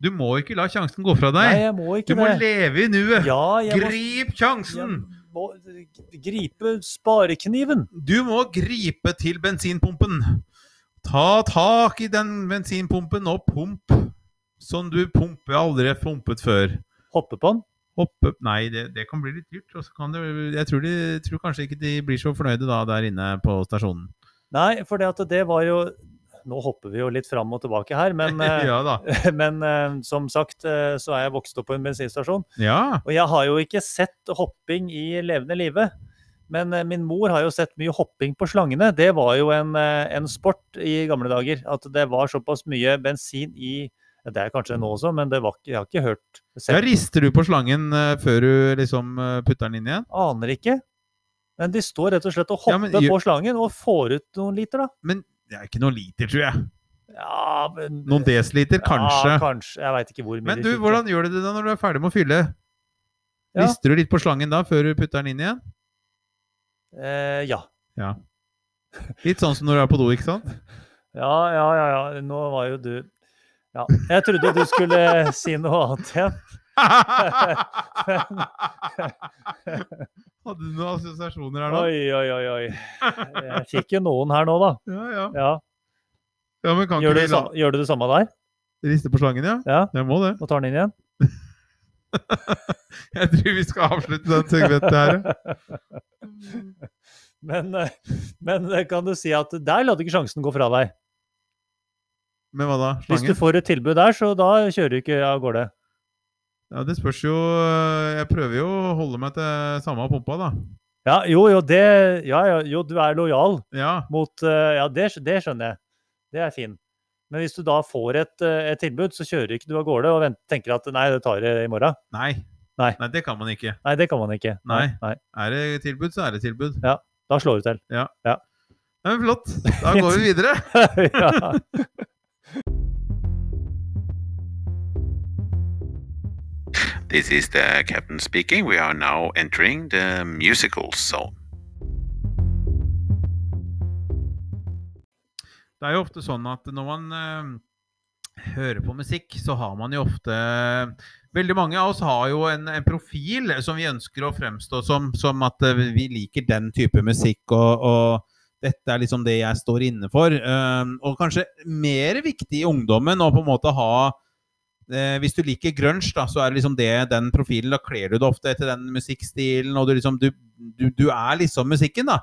Du må ikke la sjansen gå fra
Nei,
deg.
jeg må
Du
ikke
må
det.
leve i nuet.
Ja, jeg må,
Grip sjansen!
jeg må g- gripe sparekniven.
Du må gripe til bensinpumpen. Ta tak i den bensinpumpen og pump som du pumper aldri har pumpet før.
Hoppe på den.
Hoppe Nei, det, det kan bli litt dyrt. Og så kan det, jeg tror, de, tror kanskje ikke de blir så fornøyde da der inne på stasjonen.
Nei, for det at det var jo Nå hopper vi jo litt fram og tilbake her, men, eh,
ja da.
men eh, som sagt eh, så er jeg vokst opp på en bensinstasjon.
Ja.
Og jeg har jo ikke sett hopping i levende live. Men eh, min mor har jo sett mye hopping på slangene. Det var jo en, eh, en sport i gamle dager. At det var såpass mye bensin i ja, Det er kanskje nå også, men det var ikke, jeg har ikke hørt
ja.
sett,
Rister du på slangen eh, før du liksom eh, putter den inn igjen?
Aner ikke. Men de står rett og slett og
Ja,
hopper
men gjør-
på slangen og får ut noen liter, da.
Det er ikke noen liter, tror jeg.
Ja, men,
Noen desiliter, kanskje.
Ja, kanskje. Jeg veit ikke hvor mye
Men
de
du,
fikk, da.
hvordan gjør du det da når du er ferdig med å fylle?
Ja.
Rister du litt på slangen da før du putter den inn igjen?
Eh, ja.
Litt sånn som når du er på do, ikke sant?
ja. Ja, ja, ja. Nå var jo du Ja. Jeg trodde du skulle si noe annet igjen.
Hadde du noen assosiasjoner her nå?
Oi, oi, oi, oi. Jeg fikk jo noen her nå, da.
Ja, ja.
Ja.
ja men kan
Gjør, du
ikke
det
vi la...
samme, gjør du det samme der?
riste på slangen, ja?
Ja.
Jeg må det.
Og tar den inn igjen?
Jeg tror vi skal avslutte den segmentet her.
Men, eh, men eh, kan du si at der lar du ikke sjansen gå fra deg.
Men hva da?
Hvis du
Slangen?
får et tilbud der, så da kjører du ikke av gårde.
Ja, det spørs jo eh, Jeg prøver jo å holde meg til samme pumpa, da.
Ja, jo, jo, det, ja, ja, jo, du er lojal
Ja.
mot eh, Ja, det, skj- det skjønner jeg. Det er fin. Men hvis du da får et, eh, et tilbud, så kjører ikke du av gårde og vent, tenker at nei, det tar jeg i morgen.
Nei.
Nei.
det kan man ikke.
Nei, det kan man ikke. nei.
Er det tilbud, så er det tilbud.
Da slår du til.
Ja, men Flott. Da går vi videre.
ja.
This is the captain speaking. We are now entering the musical zone.
Det er jo ofte sånn at når man eh, hører på musikk, så har man jo ofte eh, Veldig mange av oss har jo en, en profil som vi ønsker å fremstå som, som at eh, vi liker den type musikk, og, og dette er liksom det jeg står inne for. Eh, og kanskje mer viktig i ungdommen å på en måte ha eh, Hvis du liker grunge, da, så er det liksom det den profilen. Da kler du deg ofte etter den musikkstilen, og du liksom Du, du, du er liksom musikken, da.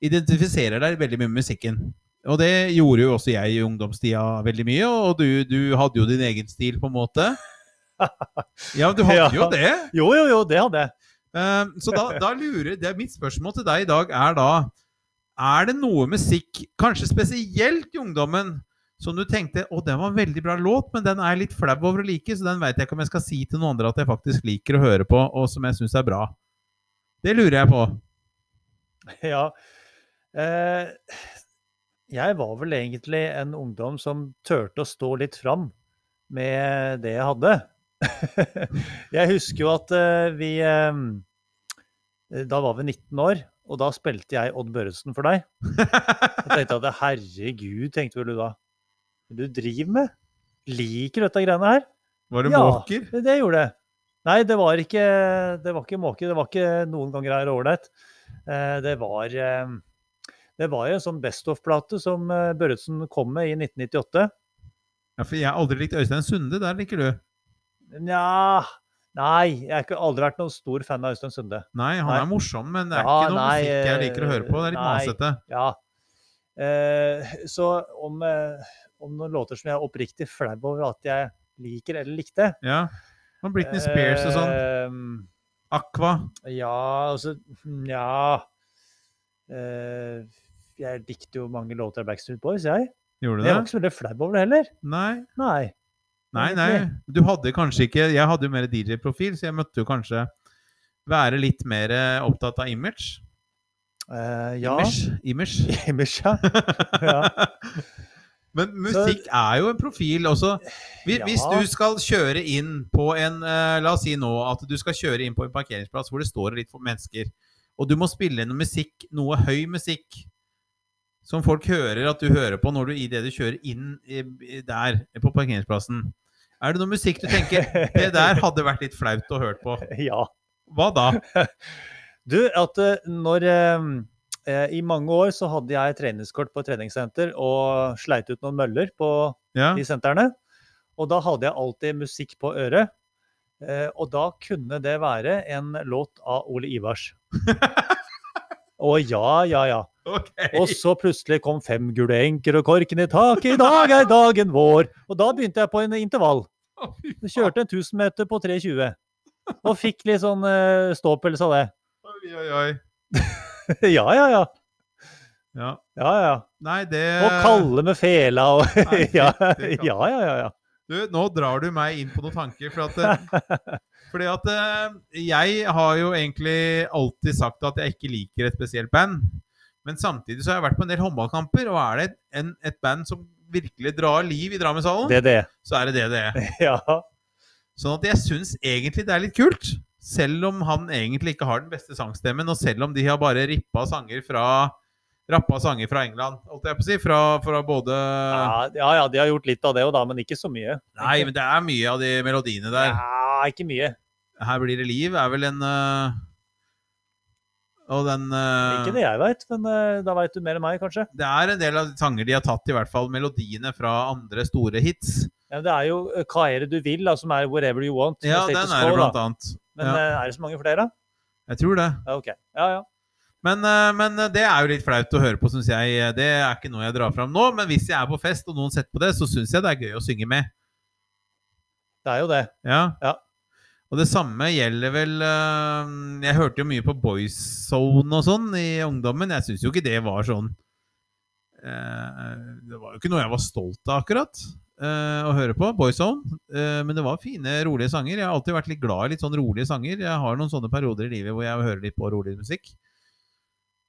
Identifiserer deg veldig mye med musikken. Og det gjorde jo også jeg i ungdomstida veldig mye, og du, du hadde jo din egen stil, på en måte. Ja, du hadde
Ja.
jo det.
Jo, jo, jo, det hadde jeg.
Eh, så da, da lurer det er Mitt spørsmål til deg i dag er da Er det noe musikk, kanskje spesielt i ungdommen, som du tenkte å, den var en veldig bra låt, men den er jeg litt flau over å like, så den veit jeg ikke om jeg skal si til noen andre at jeg faktisk liker å høre på, og som jeg syns er bra. Det lurer jeg på.
Ja. Eh, jeg var vel egentlig en ungdom som turte å stå litt fram med det jeg hadde. jeg husker jo at eh, vi eh, Da var vi 19 år, og da spilte jeg Odd Børretzen for deg. Jeg tenkte at herregud, tenkte vel du da. Hva er det du driver med? Liker du dette greiene her?
Var det
Ja.
måker?
Det, det gjorde det. Nei, det var ikke, det var ikke måke. Det var ikke noen ganger her ålreit. Eh, Det var eh, det var jo en sånn Best of-plate som eh, Børretzen kom med i 1998.
Ja, for jeg har aldri likt Øystein Sunde. Der liker du.
Nja Nei, jeg har ikke aldri vært noen stor fan av Øystein Sunde.
Nei, han
Nei.
er morsom, men det er
Ja,
ikke noe
nei,
musikk jeg liker å høre på. Det er litt
nei.
masete.
Ja. Eh, Så om, eh, om noen låter som jeg er oppriktig flau over at jeg liker eller likte
Ja. Men Britney Spears og sånn.
eh,
Aqua.
Ja, altså Nja Eh, Jeg likte jo mange låter av Backstreet Boys, jeg.
Gjorde
Men
du
jeg var
det?
ikke så veldig flau over det heller.
Nei.
Nei.
nei, nei. Du hadde kanskje ikke Jeg hadde jo mer DJ-profil, så jeg måtte jo kanskje være litt mer eh, opptatt av image.
Eh, ja.
Image. image.
Image, ja. Ja.
Men musikk er jo en profil også. Hvis,
Ja.
hvis du skal kjøre inn på en eh, La oss si nå at du skal kjøre inn på en parkeringsplass hvor det står litt for mennesker, og du må spille noe musikk, noe høy musikk, som folk hører at du hører på når du i det du kjører inn i- i- der på parkeringsplassen. Er det noe musikk du tenker Det der hadde vært litt flaut å høre på.
ja.
Hva da?
Du, at eh, når eh, eh, I mange år så hadde jeg treningskort på et treningssenter og sleit ut noen møller på
Ja.
de sentrene. Og da hadde jeg alltid musikk på øret. Eh, og da kunne det være en låt av Ole Ivars. Å ja, ja, ja.
Ok.
Og så plutselig kom fem gule enker og korken i taket, i dag er dagen vår. Og da begynte jeg på en intervall. Så kjørte en 1000 meter på 3,20. Og fikk litt sånn eh, ståpels av det.
Oi, oi, oi.
ja, ja, ja.
Ja.
Ja, ja.
Nei, det
Og kalle med fela og
Eh. Nei,
ja,
fytti
ja,
katta.
ja, ja, ja.
Du, nå drar du meg inn på noen tanker. For at, eh, fordi at eh, jeg har jo egentlig alltid sagt at jeg ikke liker et spesielt band. Men samtidig så har jeg vært på en del håndballkamper, og er det et, en, et band som virkelig drar liv i Drammenshallen,
Det er det.
så er det det det er.
Ja.
Sånn at jeg syns egentlig det er litt kult. Selv om han egentlig ikke har den beste sangstemmen, og selv om de har bare rippa sanger fra Rappa sanger fra England, holdt jeg på å si. Fra, fra både
Ja, ja, ja, de har gjort litt av det òg, da, men ikke så mye.
Nei, men det er mye av de melodiene der.
Ja, ikke mye.
Her blir det liv er vel en øh, Og den øh,
Ikke det jeg veit, men eh, da veit du mer enn meg, kanskje.
Det er en del av sanger de har tatt, i hvert fall melodiene fra andre store hits.
Ja, men det er jo eh, Hva er det du vil, da, som er Whatever You Want. med
Ja, den
status
er det
quo, da.
blant annet.
Men
ja.
eh, er det så mange flere, da?
Jeg tror det.
Ja, ok. Ja, ja.
Men, eh, men det er jo litt flaut å høre på, syns jeg. Det er ikke noe jeg drar fram nå, men hvis jeg er på fest og noen setter på det, så syns jeg det er gøy å synge med.
Det er jo det.
Ja.
Ja.
Og det samme gjelder vel eh, Jeg hørte jo mye på Boys Zone og sånn i ungdommen. Jeg syns jo ikke det var sånn eh, Det var jo ikke noe jeg var stolt av, akkurat, eh, å høre på. Boys Zone. Eh, men det var fine, rolige sanger. Jeg har alltid vært litt glad i litt sånn rolige sanger. Jeg har noen sånne perioder i livet hvor jeg hører litt på rolig musikk.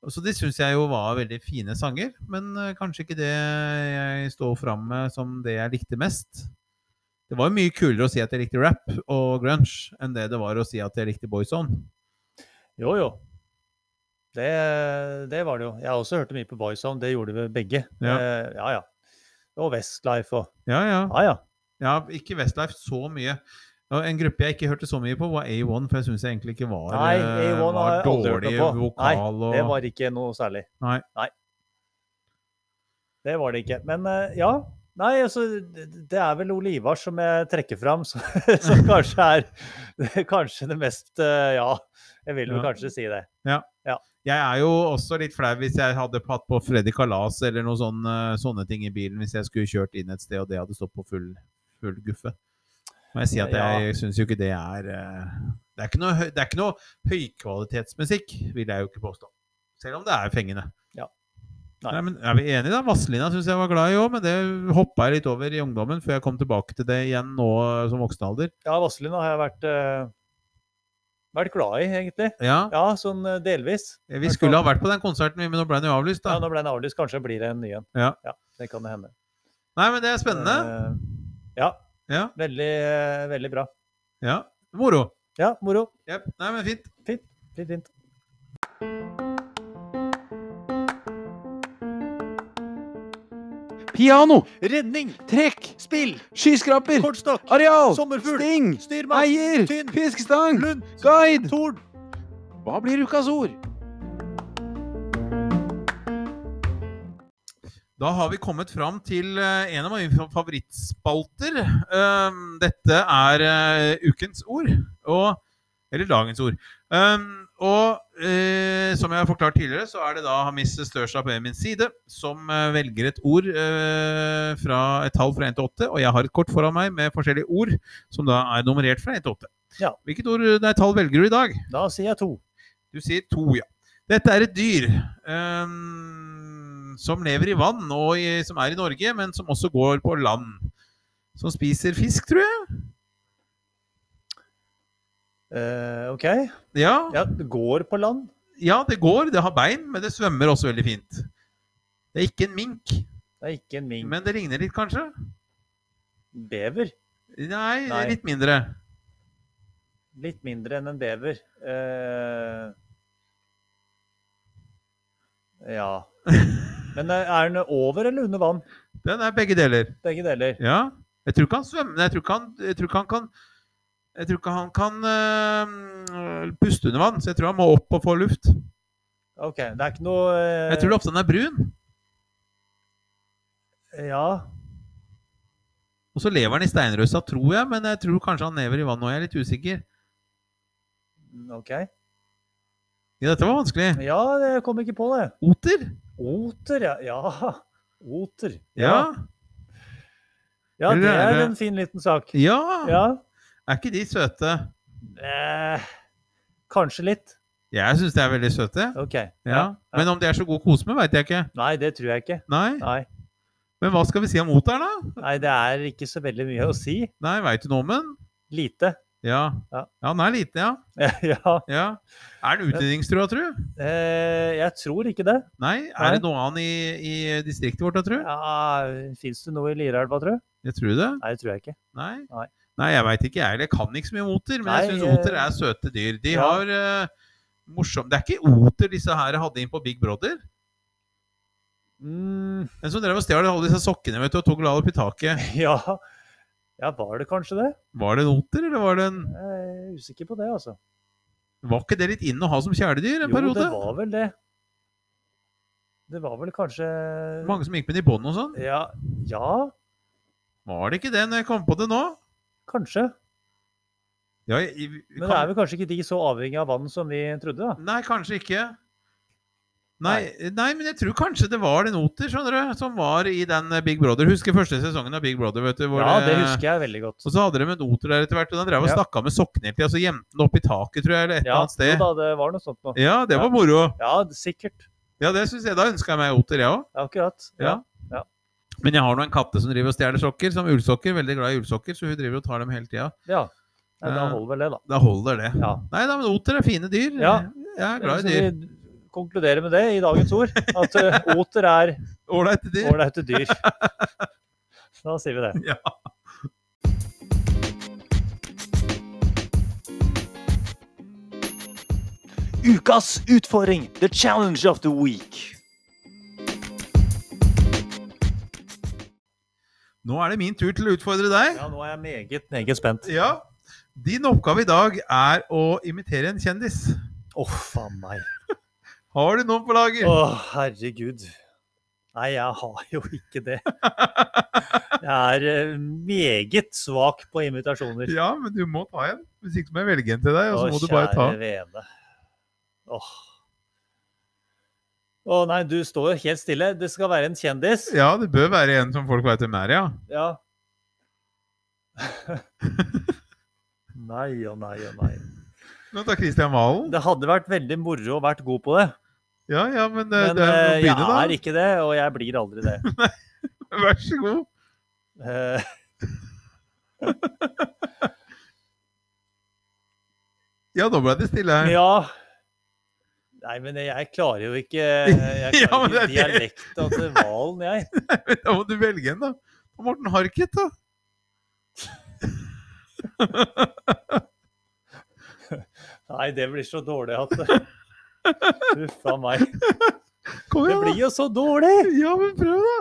Og Så det syns jeg jo var veldig fine sanger, men eh, kanskje ikke det jeg står fram med som det jeg likte mest. Det var jo mye kulere å si at jeg likte rap og grunge, enn det det var å si at jeg likte boyzone.
Jo, jo. Det, det var det jo. Jeg har også hørt mye på Boyzone. Det gjorde vi begge.
Ja.
Eh, ja, ja. Og Westlife og
Ja, ja.
Ja, ja.
Jeg har ikke Westlife så mye. Og en gruppe jeg ikke hørte så mye på, var A1, for jeg syns jeg egentlig ikke var,
Nei,
eh,
A1 har
var
jeg aldri hørt
dårlig
noe på.
vokal og
Det var ikke noe særlig.
Nei.
Det var det ikke. Men eh, ja. Nei, altså, det det er vel Ole Ivar som jeg trekker fram, som, som kanskje er kanskje det mest eh, Ja, jeg vil vel
Ja.
kanskje si det.
Jeg er jo også litt flau hvis jeg hadde hatt på Freddy Kalas eller noen sånne, sånne ting i bilen hvis jeg skulle kjørt inn et sted og det hadde stått på full, full guffe. Må jeg si at jeg syns jo ikke det er eh, det er ikke, noe, høy- det er ikke noe høykvalitetsmusikk, vil jeg jo ikke påstå. Selv om det er fengende.
Ja.
Nei.
Nei.
men Er vi enige, da? Vazelina syns jeg var glad i òg, men det hoppa jeg litt over i ungdommen før jeg kom tilbake til det igjen nå eh, som voksen alder.
Ja, Vazelina har jeg vært, eh, vært glad i, egentlig.
Ja,
Ja, sånn eh, delvis.
Vi skulle ha vært på den konserten, vi, men nå ble den jo avlyst,
Ja,
da.
nå ble den avlyst. Kanskje blir det en ny en.
Ja.
det kan det hende.
Nei, men det er spennende.
Eh, ja.
Ja.
Veldig, eh, veldig bra.
Ja. Moro.
Ja, moro.
Jep. Nei, men fint.
Litt fint.
Piano,
Redning,
trekk,
spill,
skyskraper,
kortstokk,
areal,
sommerfugl,
sting,
styrmann,
eier,
tynn,
fiskestang,
lund,
guide.
torn.
Hva blir ukas ord?
Da har vi kommet fram til eh, en av mine fa- favorittspalter. Um, Dette er eh, ukens ord, og, eller dagens ord. Um, Og eh, som jeg har forklart tidligere, så er det da Miss Størstad på min side som eh, velger et ord eh, fra et tall fra 1 til 8. Og jeg har et kort foran meg med forskjellige ord som da er nummerert fra 1 til 8.
Ja.
Hvilket ord, nei, tall velger du i dag?
Da sier jeg to.
Du sier to, ja. Dette er et dyr øhm, som lever i vann, og i, som er i Norge, men som også går på land. Som spiser fisk, tror jeg.
Eh, OK.
Ja, ja.
Ja, det går på land.
det går. Det har bein, men det svømmer også veldig fint. Det er ikke en mink,
Det er ikke en mink.
men det ligner litt, kanskje?
Bever.
Nei,
Nei.
litt mindre.
Litt mindre enn en bever. Eh, ja. Men eh, er den over eller under vann?
Den er begge deler.
Begge deler.
Ja. Jeg tror ikke han svømmer. Jeg tror ikke han, jeg tror ikke han kan Jeg tror ikke han kan øhm, puste under vann, så jeg tror han må opp og få luft.
OK. Det er ikke noe eh,
Jeg tror ofte han er brun,
Ja.
og så lever han i steinrøysa, tror jeg, men jeg tror kanskje han lever i vann nå, jeg er litt usikker.
OK.
Ja, dette var vanskelig.
Ja, jeg kom ikke på det.
Oter?
Oter, ja. ja. Oter.
Ja.
Ja,
Eller
det
er
er
det-
en fin liten sak.
Ja.
Ja.
Er ikke de søte?
Eh, kanskje litt.
Jeg syns de er veldig søte.
OK.
Ja. Men om de er så gode å kose med, veit jeg ikke.
Nei, det tror jeg ikke.
Nei.
Nei.
Men hva skal vi si om oteren, da?
Nei, det er ikke så veldig mye å si.
Nei, veit du noe om den?
Lite.
Ja. ja.
Ja.
Han er liten, ja.
ja.
ja. Er den utrydningstrua, tru?
Eh, jeg tror ikke det.
Nei.
Nei.
Er det noe annet i, i distriktet vårt, da, tru?
Ja, Fins det noe i Lierelva, tro?
Jeg tror det.
Nei, det tror jeg ikke.
Nei.
Nei.
Nei, jeg veit ikke, jeg heller. Jeg kan ikke så mye om oter, men jeg
Nei,
syns oter
eh,
er søte dyr. De
ja.
har eh, morsom Det er ikke oter disse her hadde inn på Big Brother.
Mm,
Den som drev og stjal alle disse sokkene vet du, og tok og la det opp i taket.
ja. ja, var det kanskje det?
Var det en oter, eller var det en
Jeg er usikker på det, altså.
Var ikke det litt inn å ha som kjæledyr en
Jo,
periode?
det var vel det. Det var vel kanskje
Mange som gikk med den i bånd og sånn.
Ja. ja.
Var det ikke det når jeg kom på det nå?
Kanskje.
Ja, jeg- jeg-
Men det
kan-
er vel kanskje ikke de så avhengig av vann som vi trodde, da.
Nei, kanskje ikke. Nei, nei, men jeg tror kanskje det var den Oter skjønner du, som var i den Big Brother. Husker første sesongen av Big Brother. vet du? Hvor
Ja, det husker jeg veldig godt.
Og så hadde de en Oter der etter hvert, og den drev og
Ja.
stakk av med sokkene hele tida. Så gjemte den opp i taket, tror jeg, eller et
Ja,
eller annet sted.
jo da, det var noe sånt noe.
Ja, det
Ja.
var moro.
Ja, sikkert.
Ja, det synes jeg. Da ønska jeg meg Oter, jeg òg.
Akkurat.
Ja. Men jeg har nå en katte som driver og stjeler sokker, som ullsokker. Veldig glad i ullsokker, så hun driver og tar dem hele tida.
ja. Nei, Da
Eh,
holder vel det, da.
Da holder det.
Ja.
Nei da, men Oter er fine dyr.
Ja. liksom
Jeg er glad i
Så
dyr.
Vi konkluderer med det i dagens ord. At eh, oter er
Ålreite dyr.
ålreite dyr. Da sier vi det.
Ja.
Ukas utfordring! The challenge of the week.
Nå er det min tur til å utfordre deg.
Ja, nå er jeg meget, meget spent.
Ja. Din oppgave i dag er å imitere en kjendis.
Å, faen meg.
Har du noen på lager?
Å, herregud. Nei, jeg har jo ikke det. Jeg er eh, meget svak på invitasjoner.
Ja, men du må ta en. Hvis ikke så må jeg velge en til deg, og så må du bare ta.
Å, kjære vene. Åh. Å nei, du står helt stille. Det skal være en kjendis.
Ja, det bør være en som folk veit hvem er, ja.
Ja. nei og nei og nei.
Nå tar Christian Valen.
Det hadde vært veldig moro å vært god på det,
Ja, ja, men, eh,
men
det er
eh,
å
jeg
begynne, da.
er ikke det, og jeg blir aldri det.
Vær så god.
Eh.
Ja, nå ble det stille her.
Ja. Nei, men jeg klarer jo ikke Jeg
Ja,
klarer
men
ikke
det er det.
dialekta til hvalen, jeg.
Da må du velge en, da. Og Morten Harket, da.
Nei, det blir så dårlig at Huff a meg.
Kom
Det
igjen,
blir jo så dårlig!
da. Ja, men prøv, da.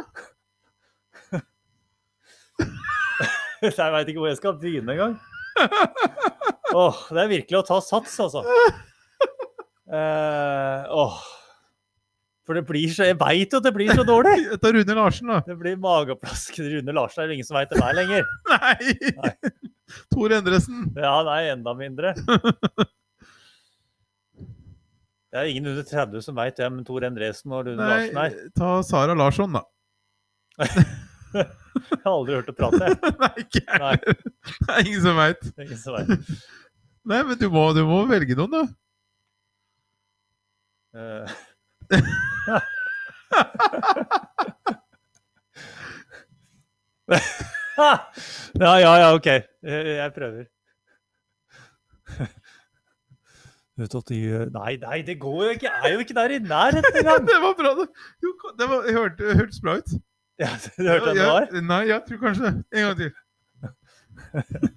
Jeg veit ikke hvor jeg skal begynne engang. Åh, det er virkelig å ta sats, altså. Eh, åh. For det blir så Jeg veit jo at det blir så dårlig!
Jeg tar Rune Larsen, da.
Det blir mageplask. Rune Larsen er det ingen som veit det der lenger.
Nei! Tor Endresen.
Ja, nei, enda mindre. Det er ingen under 30 som veit hvem Tor Endresen og Rune Larsen
Nei,
er.
ta Sara Larsson, da.
Jeg har aldri hørt det prate, jeg.
Nei, ikke jeg
Nei.
heller. Det er ingen som veit.
Det er ingen som vet.
Nei, men du må, du må velge noen, da.
Eh, ja, ja, ja, OK. Eh, Jeg prøver. Vet at de eh, Nei, nei, det går jo ikke. Jeg er jo ikke der i nærheten engang.
Det var bra, det. Jo, det var, jeg hørte, det hørtes bra ut.
Ja, du hørte hvem det var?
Ja, Nei, jeg tror kanskje det. En gang til.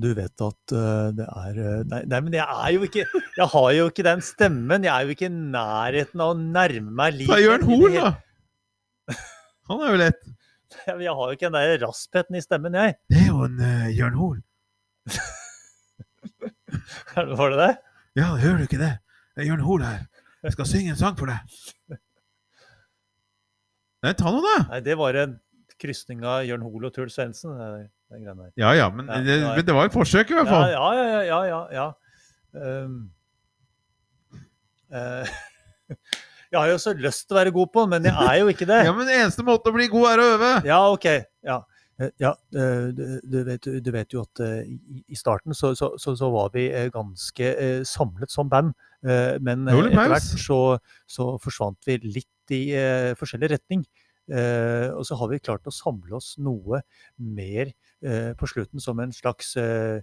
Du vet at eh, det er eh, nei, nei, men jeg er jo ikke Jeg har jo ikke den stemmen. Jeg er jo ikke i nærheten av å nærme
Ta
meg likheten.
Jørn Hoel, da. Han er jo lett.
Jeg har jo ikke den der raspheten i stemmen, jeg.
Det er jo en uh, Jørn Hoel.
Var det det?
Ja, hører du ikke det? Det er Jørn Hoel her. Jeg skal synge en sang for deg. Nei, ta noe, da.
Nei, det var en krysning av Jørn Hoel og Truls Svendsen. det der- den greia der.
Ja ja, men
Ja,
det,
ja.
men det var et forsøk, i hvert
Ja,
fall.
ja, ja. ja, ja, ja. Ehm, eh, jeg har jo så lyst til å være god på, men jeg er jo ikke det.
Ja, men Eneste måten å bli god er å øve.
Ja, OK. Ja. Eh, ja eh, du, du, vet, du vet jo at eh, i- i starten så, så, så, så var vi eh, ganske eh, samlet som band. eh, Men eh,
Det var litt
etter
maus.
hvert så, så forsvant vi litt i eh, forskjellig retning. Eh, og så har vi klart å samle oss noe mer eh, på slutten som en slags eh,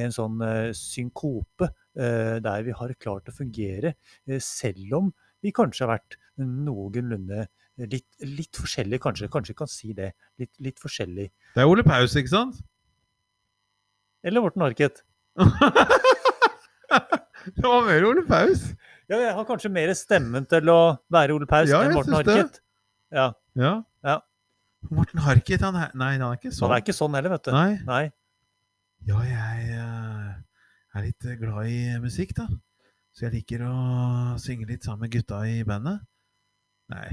en sånn eh, synkope, eh, der vi har klart å fungere, eh, selv om vi kanskje har vært noenlunde litt, litt forskjellig, kanskje. Kanskje vi kan si det. Litt, litt forskjellig.
Det er Ole Paus, ikke sant?
Eller Morten Harket.
Det var mer Ole Paus.
Ja, jeg har kanskje mer stemmen til å være Ole Paus
Ja,
enn
jeg
Morten
syns det.
Harket. Ja,
Ja.
Ja.
Morten Harket, han er Nei, han er ikke
så
sånn.
han er ikke sånn heller, vet du.
Nei.
Nei.
Ja, jeg eh, er litt eh, glad i musikk, da. Så jeg liker å synge litt sammen med gutta i bandet. Nei.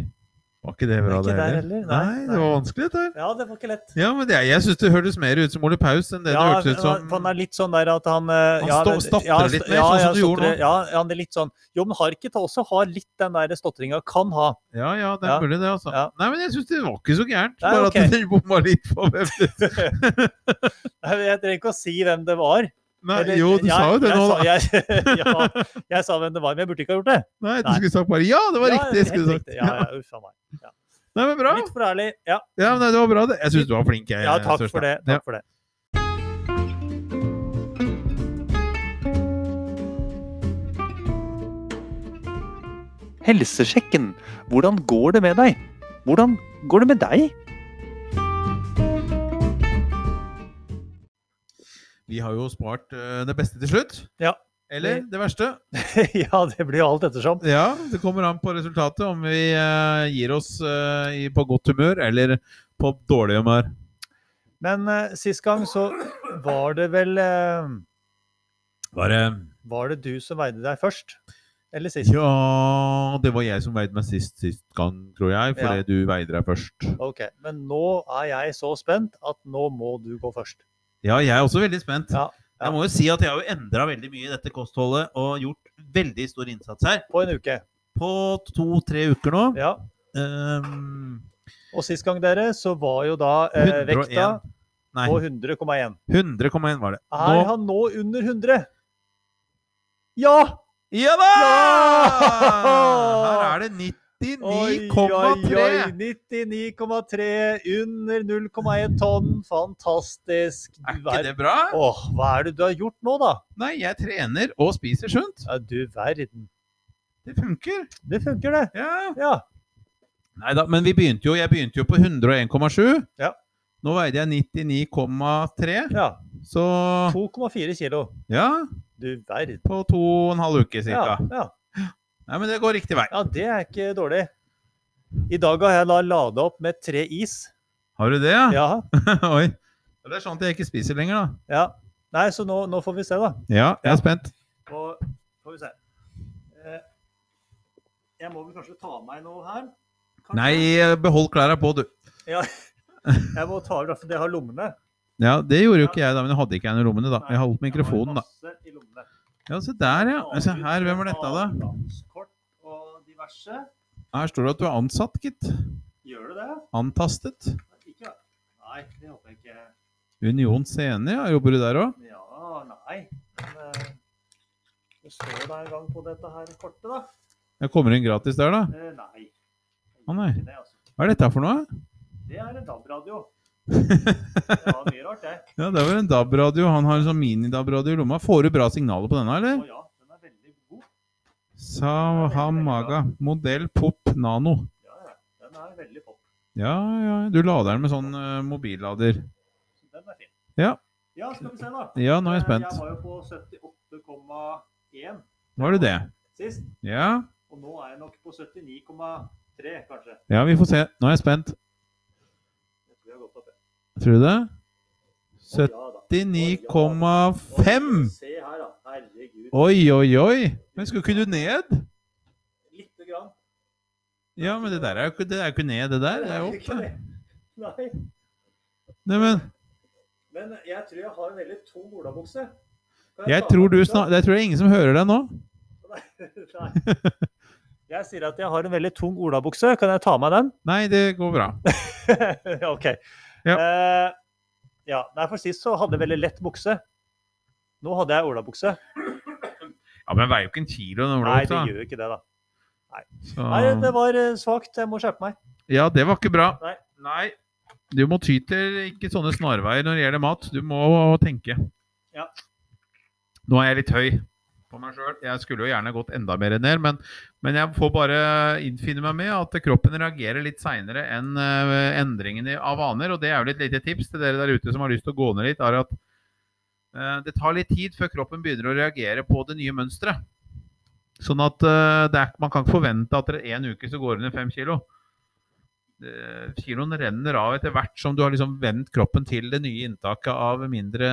Var ikke det
er
bra,
ikke
det
der
heller?
heller,
Nei,
nei,
det var vanskelig, dette her.
Ja, det var ikke lett. eh,
Ja, men det, jeg syns det hørtes mer ut som Ole Paus enn det det hørtes ut som
for han er litt sånn der at han Han ja,
sto-
det-
stotrer
st-
litt mer, sånn som du gjorde
stotrer,
nå.
Ja, han er litt sånn Jo, men Harket også har litt den der stotringa. Kan ha.
Ja, ja, det er
Ja.
mulig, det, altså.
Ja.
Nei, men jeg syns det var ikke så gærent.
Nei,
Bare
ok.
at dere bomma litt på hvem det
Nei, men Jeg trenger ikke å si hvem det var.
Nei,
Eller-
jo, du
jeg-
sa jo det
jeg
nå,
sa-
da.
Jeg, ja, jeg sa hvem det var, men jeg burde ikke ha gjort det.
Nei, du
Nei.
skulle sagt bare 'ja, det var
Ja,
riktig'. skulle du
helt
sagt.
riktig. Ja, ja, uff a meg.
Nei, men bra.
Litt for ærlig. Ja,
Ja, men det var bra. det. Jeg syns du var flink. Jeg,
ja takk
Sørstad.
for det.
Ja.
Takk for det.
Helsesjekken. Hvordan går det med deg? Hvordan går det med deg?
Vi har jo spart eh, det beste til slutt.
Ja.
Eller det verste.
ja, det blir jo alt ettersom.
Ja, det kommer an på resultatet, om vi eh, gir oss eh, i, på godt humør eller på dårlig humør.
Men eh, sist gang så var det vel eh,
Bare
Var det du som veide deg først? Eller sist?
Ja, det var jeg som veide meg sist, sist gang, tror jeg, fordi
Ja.
du veide deg først.
Ok, Men nå er jeg så spent at nå må du gå først.
Ja, jeg er også veldig spent.
Ja, ja.
Jeg må jo si at jeg har jo endra veldig mye i dette kostholdet og gjort veldig stor innsats her.
På en uke.
På to-tre uker nå.
Ja.
Ehm,
Og sist gang, dere, så var jo da eh,
101.
vekta
Nei,
på 100,1.
100,1 var det.
Er
Nå
han nå under 100? Ja!
Ja da! Her er det
Oi, oi, oi.
99,3.
99,3 under 0,1 tonn. Fantastisk.
Er
Du
ikke
er-
det bra?
Åh, hva er det du har gjort nå, da?
Nei, jeg trener og spiser sunt.
Ja, du verden.
Det funker.
Det funker, det.
Ja.
Ja.
Nei da, men vi begynte jo, jeg begynte jo på 101,7.
Ja.
Nå veide jeg 99,3,
ja.
så
2,4 kilo.
ja,
Du verden.
på to og en halv uke
Ja,
cirka.
ja.
Nei, men det går riktig vei.
ja, det er ikke dårlig. I dag har jeg da lada opp med tre is.
Har du det? Ja.
Ja,
Oi. Det er sånn at jeg ikke spiser lenger, da.
ja. Nei, så nå, nå får vi se, da.
Ja, jeg er spent.
Nå får vi se. Eh, Jeg må vel kanskje ta av meg noe her? Kanskje?
Nei, behold klærne på, du.
Jeg må ta av det, for det har lommene.
Ja, det gjorde jo ikke jeg, da, men jeg hadde ikke jeg noen i lommene, da. Jeg holdt
Jeg har
mikrofonen, da.
masse i lommene.
Ja, se der, ja. Se her, hvem var dette, da?
Landskort og diverse.
Her står det at du er ansatt, gitt.
Gjør du det?
Antastet.
Ikke? Nei, det håper jeg ikke.
Union Scene, ja. Jobber du der òg?
Ja, nei. Men eh, det står da en gang på dette her kortet, da.
Jeg kommer inn gratis der, da.
Eh, Nei. Jeg
Å, nei.
gjør ikke Det, altså.
Hva er dette for noe?
det er en DAB-radio. Det var mye rart, det.
Ja, Det var en DAB-radio. Han har en sånn mini-DAB-radio i lomma. Får du bra signaler på denne,
Å
eller?
ja, den er veldig god.
Sahamaga. Modell Pop Nano.
Ja, ja. Den er veldig pop.
Ja, ja. Du lader den med sånn eh, mobillader.
Så den er fin.
Ja.
Ja, skal vi se, da.
Ja, nå er jeg
Eh,
spent.
Jeg var jo på 78,1
Var det det?
sist,
Ja.
og nå er jeg nok på 79,3, kanskje.
Ja, vi får se. Nå er jeg spent.
Jeg tror jeg har gått opp. jeg.
Tror du det?
Å, ja da.
79,5!
Å, Se her, da. Herregud.
Oi, oi, oi! Men skulle ikke du ned?
Lite grann.
Ja, men det der er jo ikke, det er jo ikke ned, det der. Det er jo opp,
ikke
det.
det. Nei.
Neimen,
Men jeg tror jeg har en veldig tung olabukse. Kan
jeg
ta
tror
av
du
meg buksa?
snak... Jeg tror det er ingen som hører deg nå.
Nei. Jeg sier at jeg har en veldig tung olabukse. Kan jeg ta av meg den?
Nei, det går bra.
OK.
Ja.
Eh, ja. Nei, for sist så hadde jeg veldig lett bukse. Nå hadde jeg olabukse.
Ja, men veier jo ikke en kilo den
Nei,
olabuksa.
det gjør jo ikke det, da.
Så...
Nei, det var eh, svakt. Jeg må skjerpe meg.
Ja, det var ikke bra.
Nei.
Du må ty til ikke sånne snarveier når det gjelder mat. Du må tenke.
Ja.
Nå er jeg litt høy på meg sjøl. Jeg skulle jo gjerne gått enda mer ned, men, men jeg får bare innfinne meg med at kroppen reagerer litt seinere enn eh, endringene av vaner. Og det er jo et lite tips til dere der ute som har lyst til å gå ned litt, er at eh, det tar litt tid før kroppen begynner å reagere på det nye mønsteret. Sånn at eh, det er, man kan ikke forvente at dere en uke så går dere ned fem kilo eh, kiloen renner av etter hvert som du har liksom vendt kroppen til det nye inntaket av mindre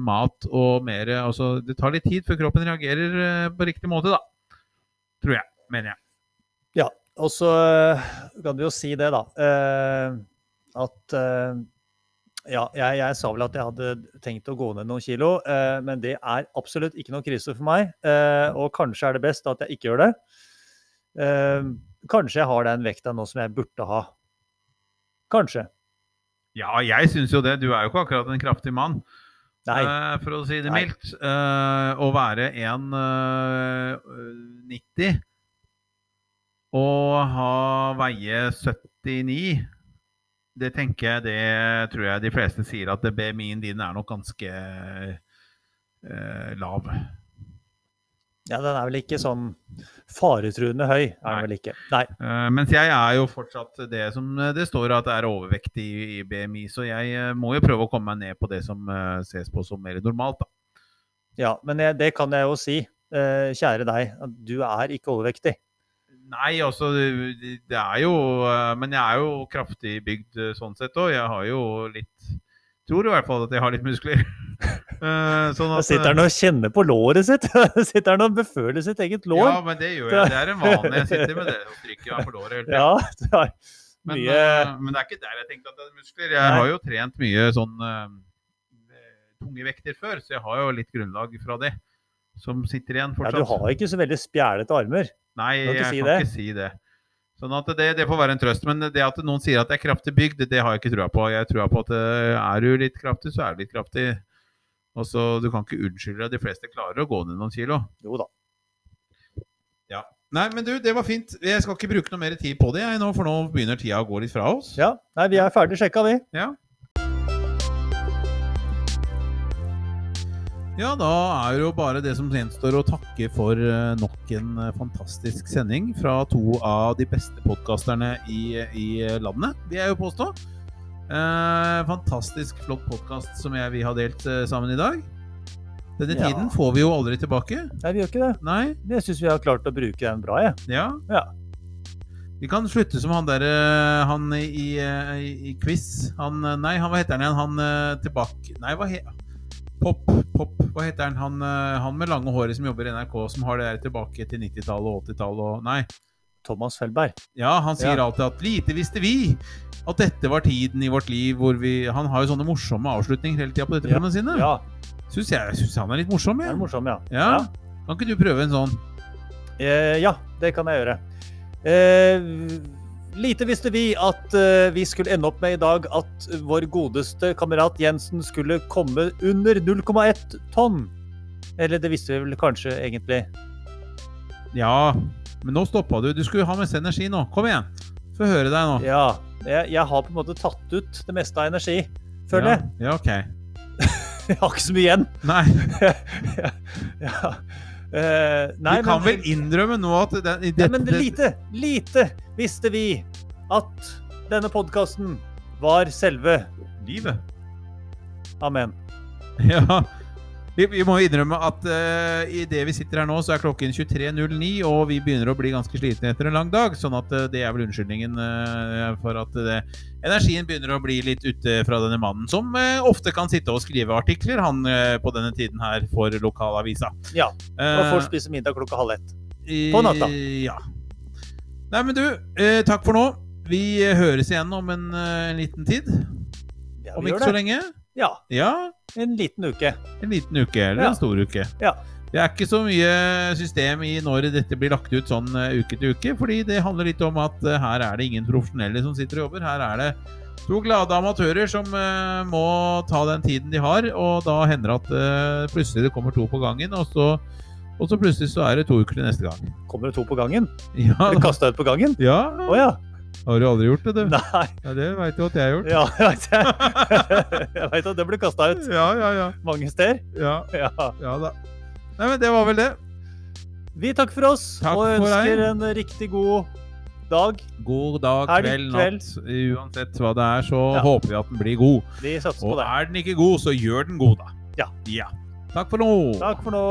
mat og mer altså, Det tar litt tid før kroppen reagerer eh, på riktig måte, da. Tror jeg. Mener jeg.
Ja, Og så eh, kan du jo si det, da. eh, At eh, Ja, jeg, jeg sa vel at jeg hadde tenkt å gå ned noen kilo, eh, men det er absolutt ikke noe krise for meg. eh, Og kanskje er det best at jeg ikke gjør det. Eh, Kanskje jeg har den vekta nå som jeg burde ha. Kanskje.
Ja, jeg syns jo det. Du er jo ikke akkurat en kraftig mann,
Nei.
eh, for å si det
Nei.
mildt. Eh, å være eh, 1,90 og ha veie 79 det tenker jeg, det tror jeg de fleste sier at det BMI-en din er nok ganske eh, lav.
Ja, den er vel ikke sånn faretruende høy. er
Nei.
den vel ikke. Nei.
Eh, mens jeg er jo fortsatt det som det står at er overvektig i, i BMI, så jeg eh, må jo prøve å komme meg ned på det som eh, ses på som mer normalt. Da.
Ja, men jeg, det kan jeg jo si, eh, kjære deg, at du er ikke overvektig.
Nei, altså det det er jo eh, Men jeg er jo kraftig bygd eh, sånn sett òg. Jeg har jo litt Tror i hvert fall at jeg har litt muskler. Eh, sånn
Da sitter han og kjenner på låret sitt! sitter han og beføler sitt eget
eh, Ja,
lår!
men det gjør jeg. Det er en vane. Jeg sitter med det og stryker meg på låret. hele tiden.
Ja, det er
Men,
mye
eh, men det er ikke der jeg tenkte at det er muskler. Jeg
Nei.
har jo trent mye sånn eh, tunge vekter før, så jeg har jo litt grunnlag fra det som sitter igjen
ja,
fortsatt.
Du har ikke så veldig spjælete armer.
Nei,
Du
jeg
kan ikke si
kan
det.
ikke si det. Sånn at det, det får være en trøst. Men det at noen sier at jeg er kraftig bygd, det har jeg ikke trua på. Jeg tror på at eh, er du litt kraftig, så er du litt kraftig. Og så Du kan ikke unnskylde deg. De fleste klarer å gå ned noen kilo.
Jo da.
Nei, men du, det var fint. Jeg skal ikke bruke noe mer tid på det, jeg nå, for nå begynner tida å gå litt fra oss.
Ja, Nei, vi er ferdig sjekka, vi.
Ja, da er det jo bare det som gjenstår å takke for eh, nok en eh, fantastisk sending fra to av de beste podkasterne i, i landet, vil jeg jo påstå. Eh, fantastisk flott podkast som jeg, vi har delt eh, sammen i dag. Denne
Ja.
tiden får vi jo aldri tilbake.
Nei, vi gjør ikke det.
Nei?
Men Jeg syns vi har klart å bruke den bra, jeg.
Ja.
Ja.
Vi kan slutte som han derre Han i, i, eh, i- i quiz. Han eh, Nei, han, hva heter han igjen? Han eh, tilbake Nei, hva he... Pop, pop, hva heter han? Han, eh, han med lange håret som jobber i NRK, som har det der tilbake til 90-tallet og 80-tallet og Nei.
Thomas Felberg.
Ja, han sier
Ja.
alltid at 'lite visste vi' at dette var tiden i vårt liv hvor vi Han har jo sånne morsomme avslutninger hele tida på dette
Ja.
programmet sine.
Ja,
Syns jeg syns han er litt morsom,
det
jeg.
er morsom, ja.
Ja. Kan ikke du prøve en sånn?
Eh, ja, det kan jeg gjøre. Eh, lite visste vi at eh, vi skulle ende opp med i dag at vår godeste kamerat Jensen skulle komme under 0,1 tonn. Eller det visste vi vel kanskje egentlig.
Ja, men nå stoppa du. Du skulle ha mest energi nå. Kom igjen. Få høre deg nå.
Ja. Jeg, jeg har på en måte tatt ut det meste av energi, føler jeg.
Ja, ja ok.
Jeg har ikke så mye igjen.
Nei,
ja. eh, nei,
du kan
men-
vel innrømme nå at det, i
Ja,
dette-
men lite, lite visste vi at denne podkasten var selve
Livet.
Amen.
Ja. Vi, vi må innrømme at eh, i det vi sitter her nå, så er klokken 23.09, og vi begynner å bli ganske slitne etter en lang dag. Sånn at eh, det er vel unnskyldningen eh, for at eh, energien begynner å bli litt ute fra denne mannen, som eh, ofte kan sitte og skrive artikler, han eh, på denne tiden her, for lokalavisa.
Ja, Og
Eh,
får spise middag klokka halv ett. På natta.
Eh, Ja. Nei, men du, eh, takk for nå. Vi eh, høres igjen om en, eh, en liten tid.
Ja,
Om
vi
ikke
gjør
så
det.
lenge.
Ja,
Ja,
en liten uke.
en liten uke eller
Ja.
en stor uke.
Ja.
Det er ikke så mye system i når dette blir lagt ut sånn eh, uke til uke, fordi det handler litt om at eh, her er det ingen profesjonelle som sitter og jobber. Her er det to glade amatører som eh, må ta den tiden de har, og da hender det at eh, plutselig det kommer to på gangen, og så, og så plutselig så er det to uker til neste gang.
Kommer det to på gangen?
Ja,
Blir kasta ut på gangen?
ja.
Å ja.
Har du aldri gjort det, du?
Nei.
Ja, det veit jo at jeg har gjort.
Ja, jeg vet det. Jeg vet at det blir kasta ut
Ja, ja, ja.
mange steder.
Ja,
Ja.
ja da. Nei, men det var vel det.
Vi takker for oss
Takk
og
for deg.
ønsker en riktig god dag.
God dag,
Helg,
kveld,
kveld.
natt. Uansett hva det er, så
Ja.
håper vi at den blir god.
Vi satser på
Og
det.
er den ikke god, så gjør den god, da.
Ja.
Takk for nå.
Takk for nå.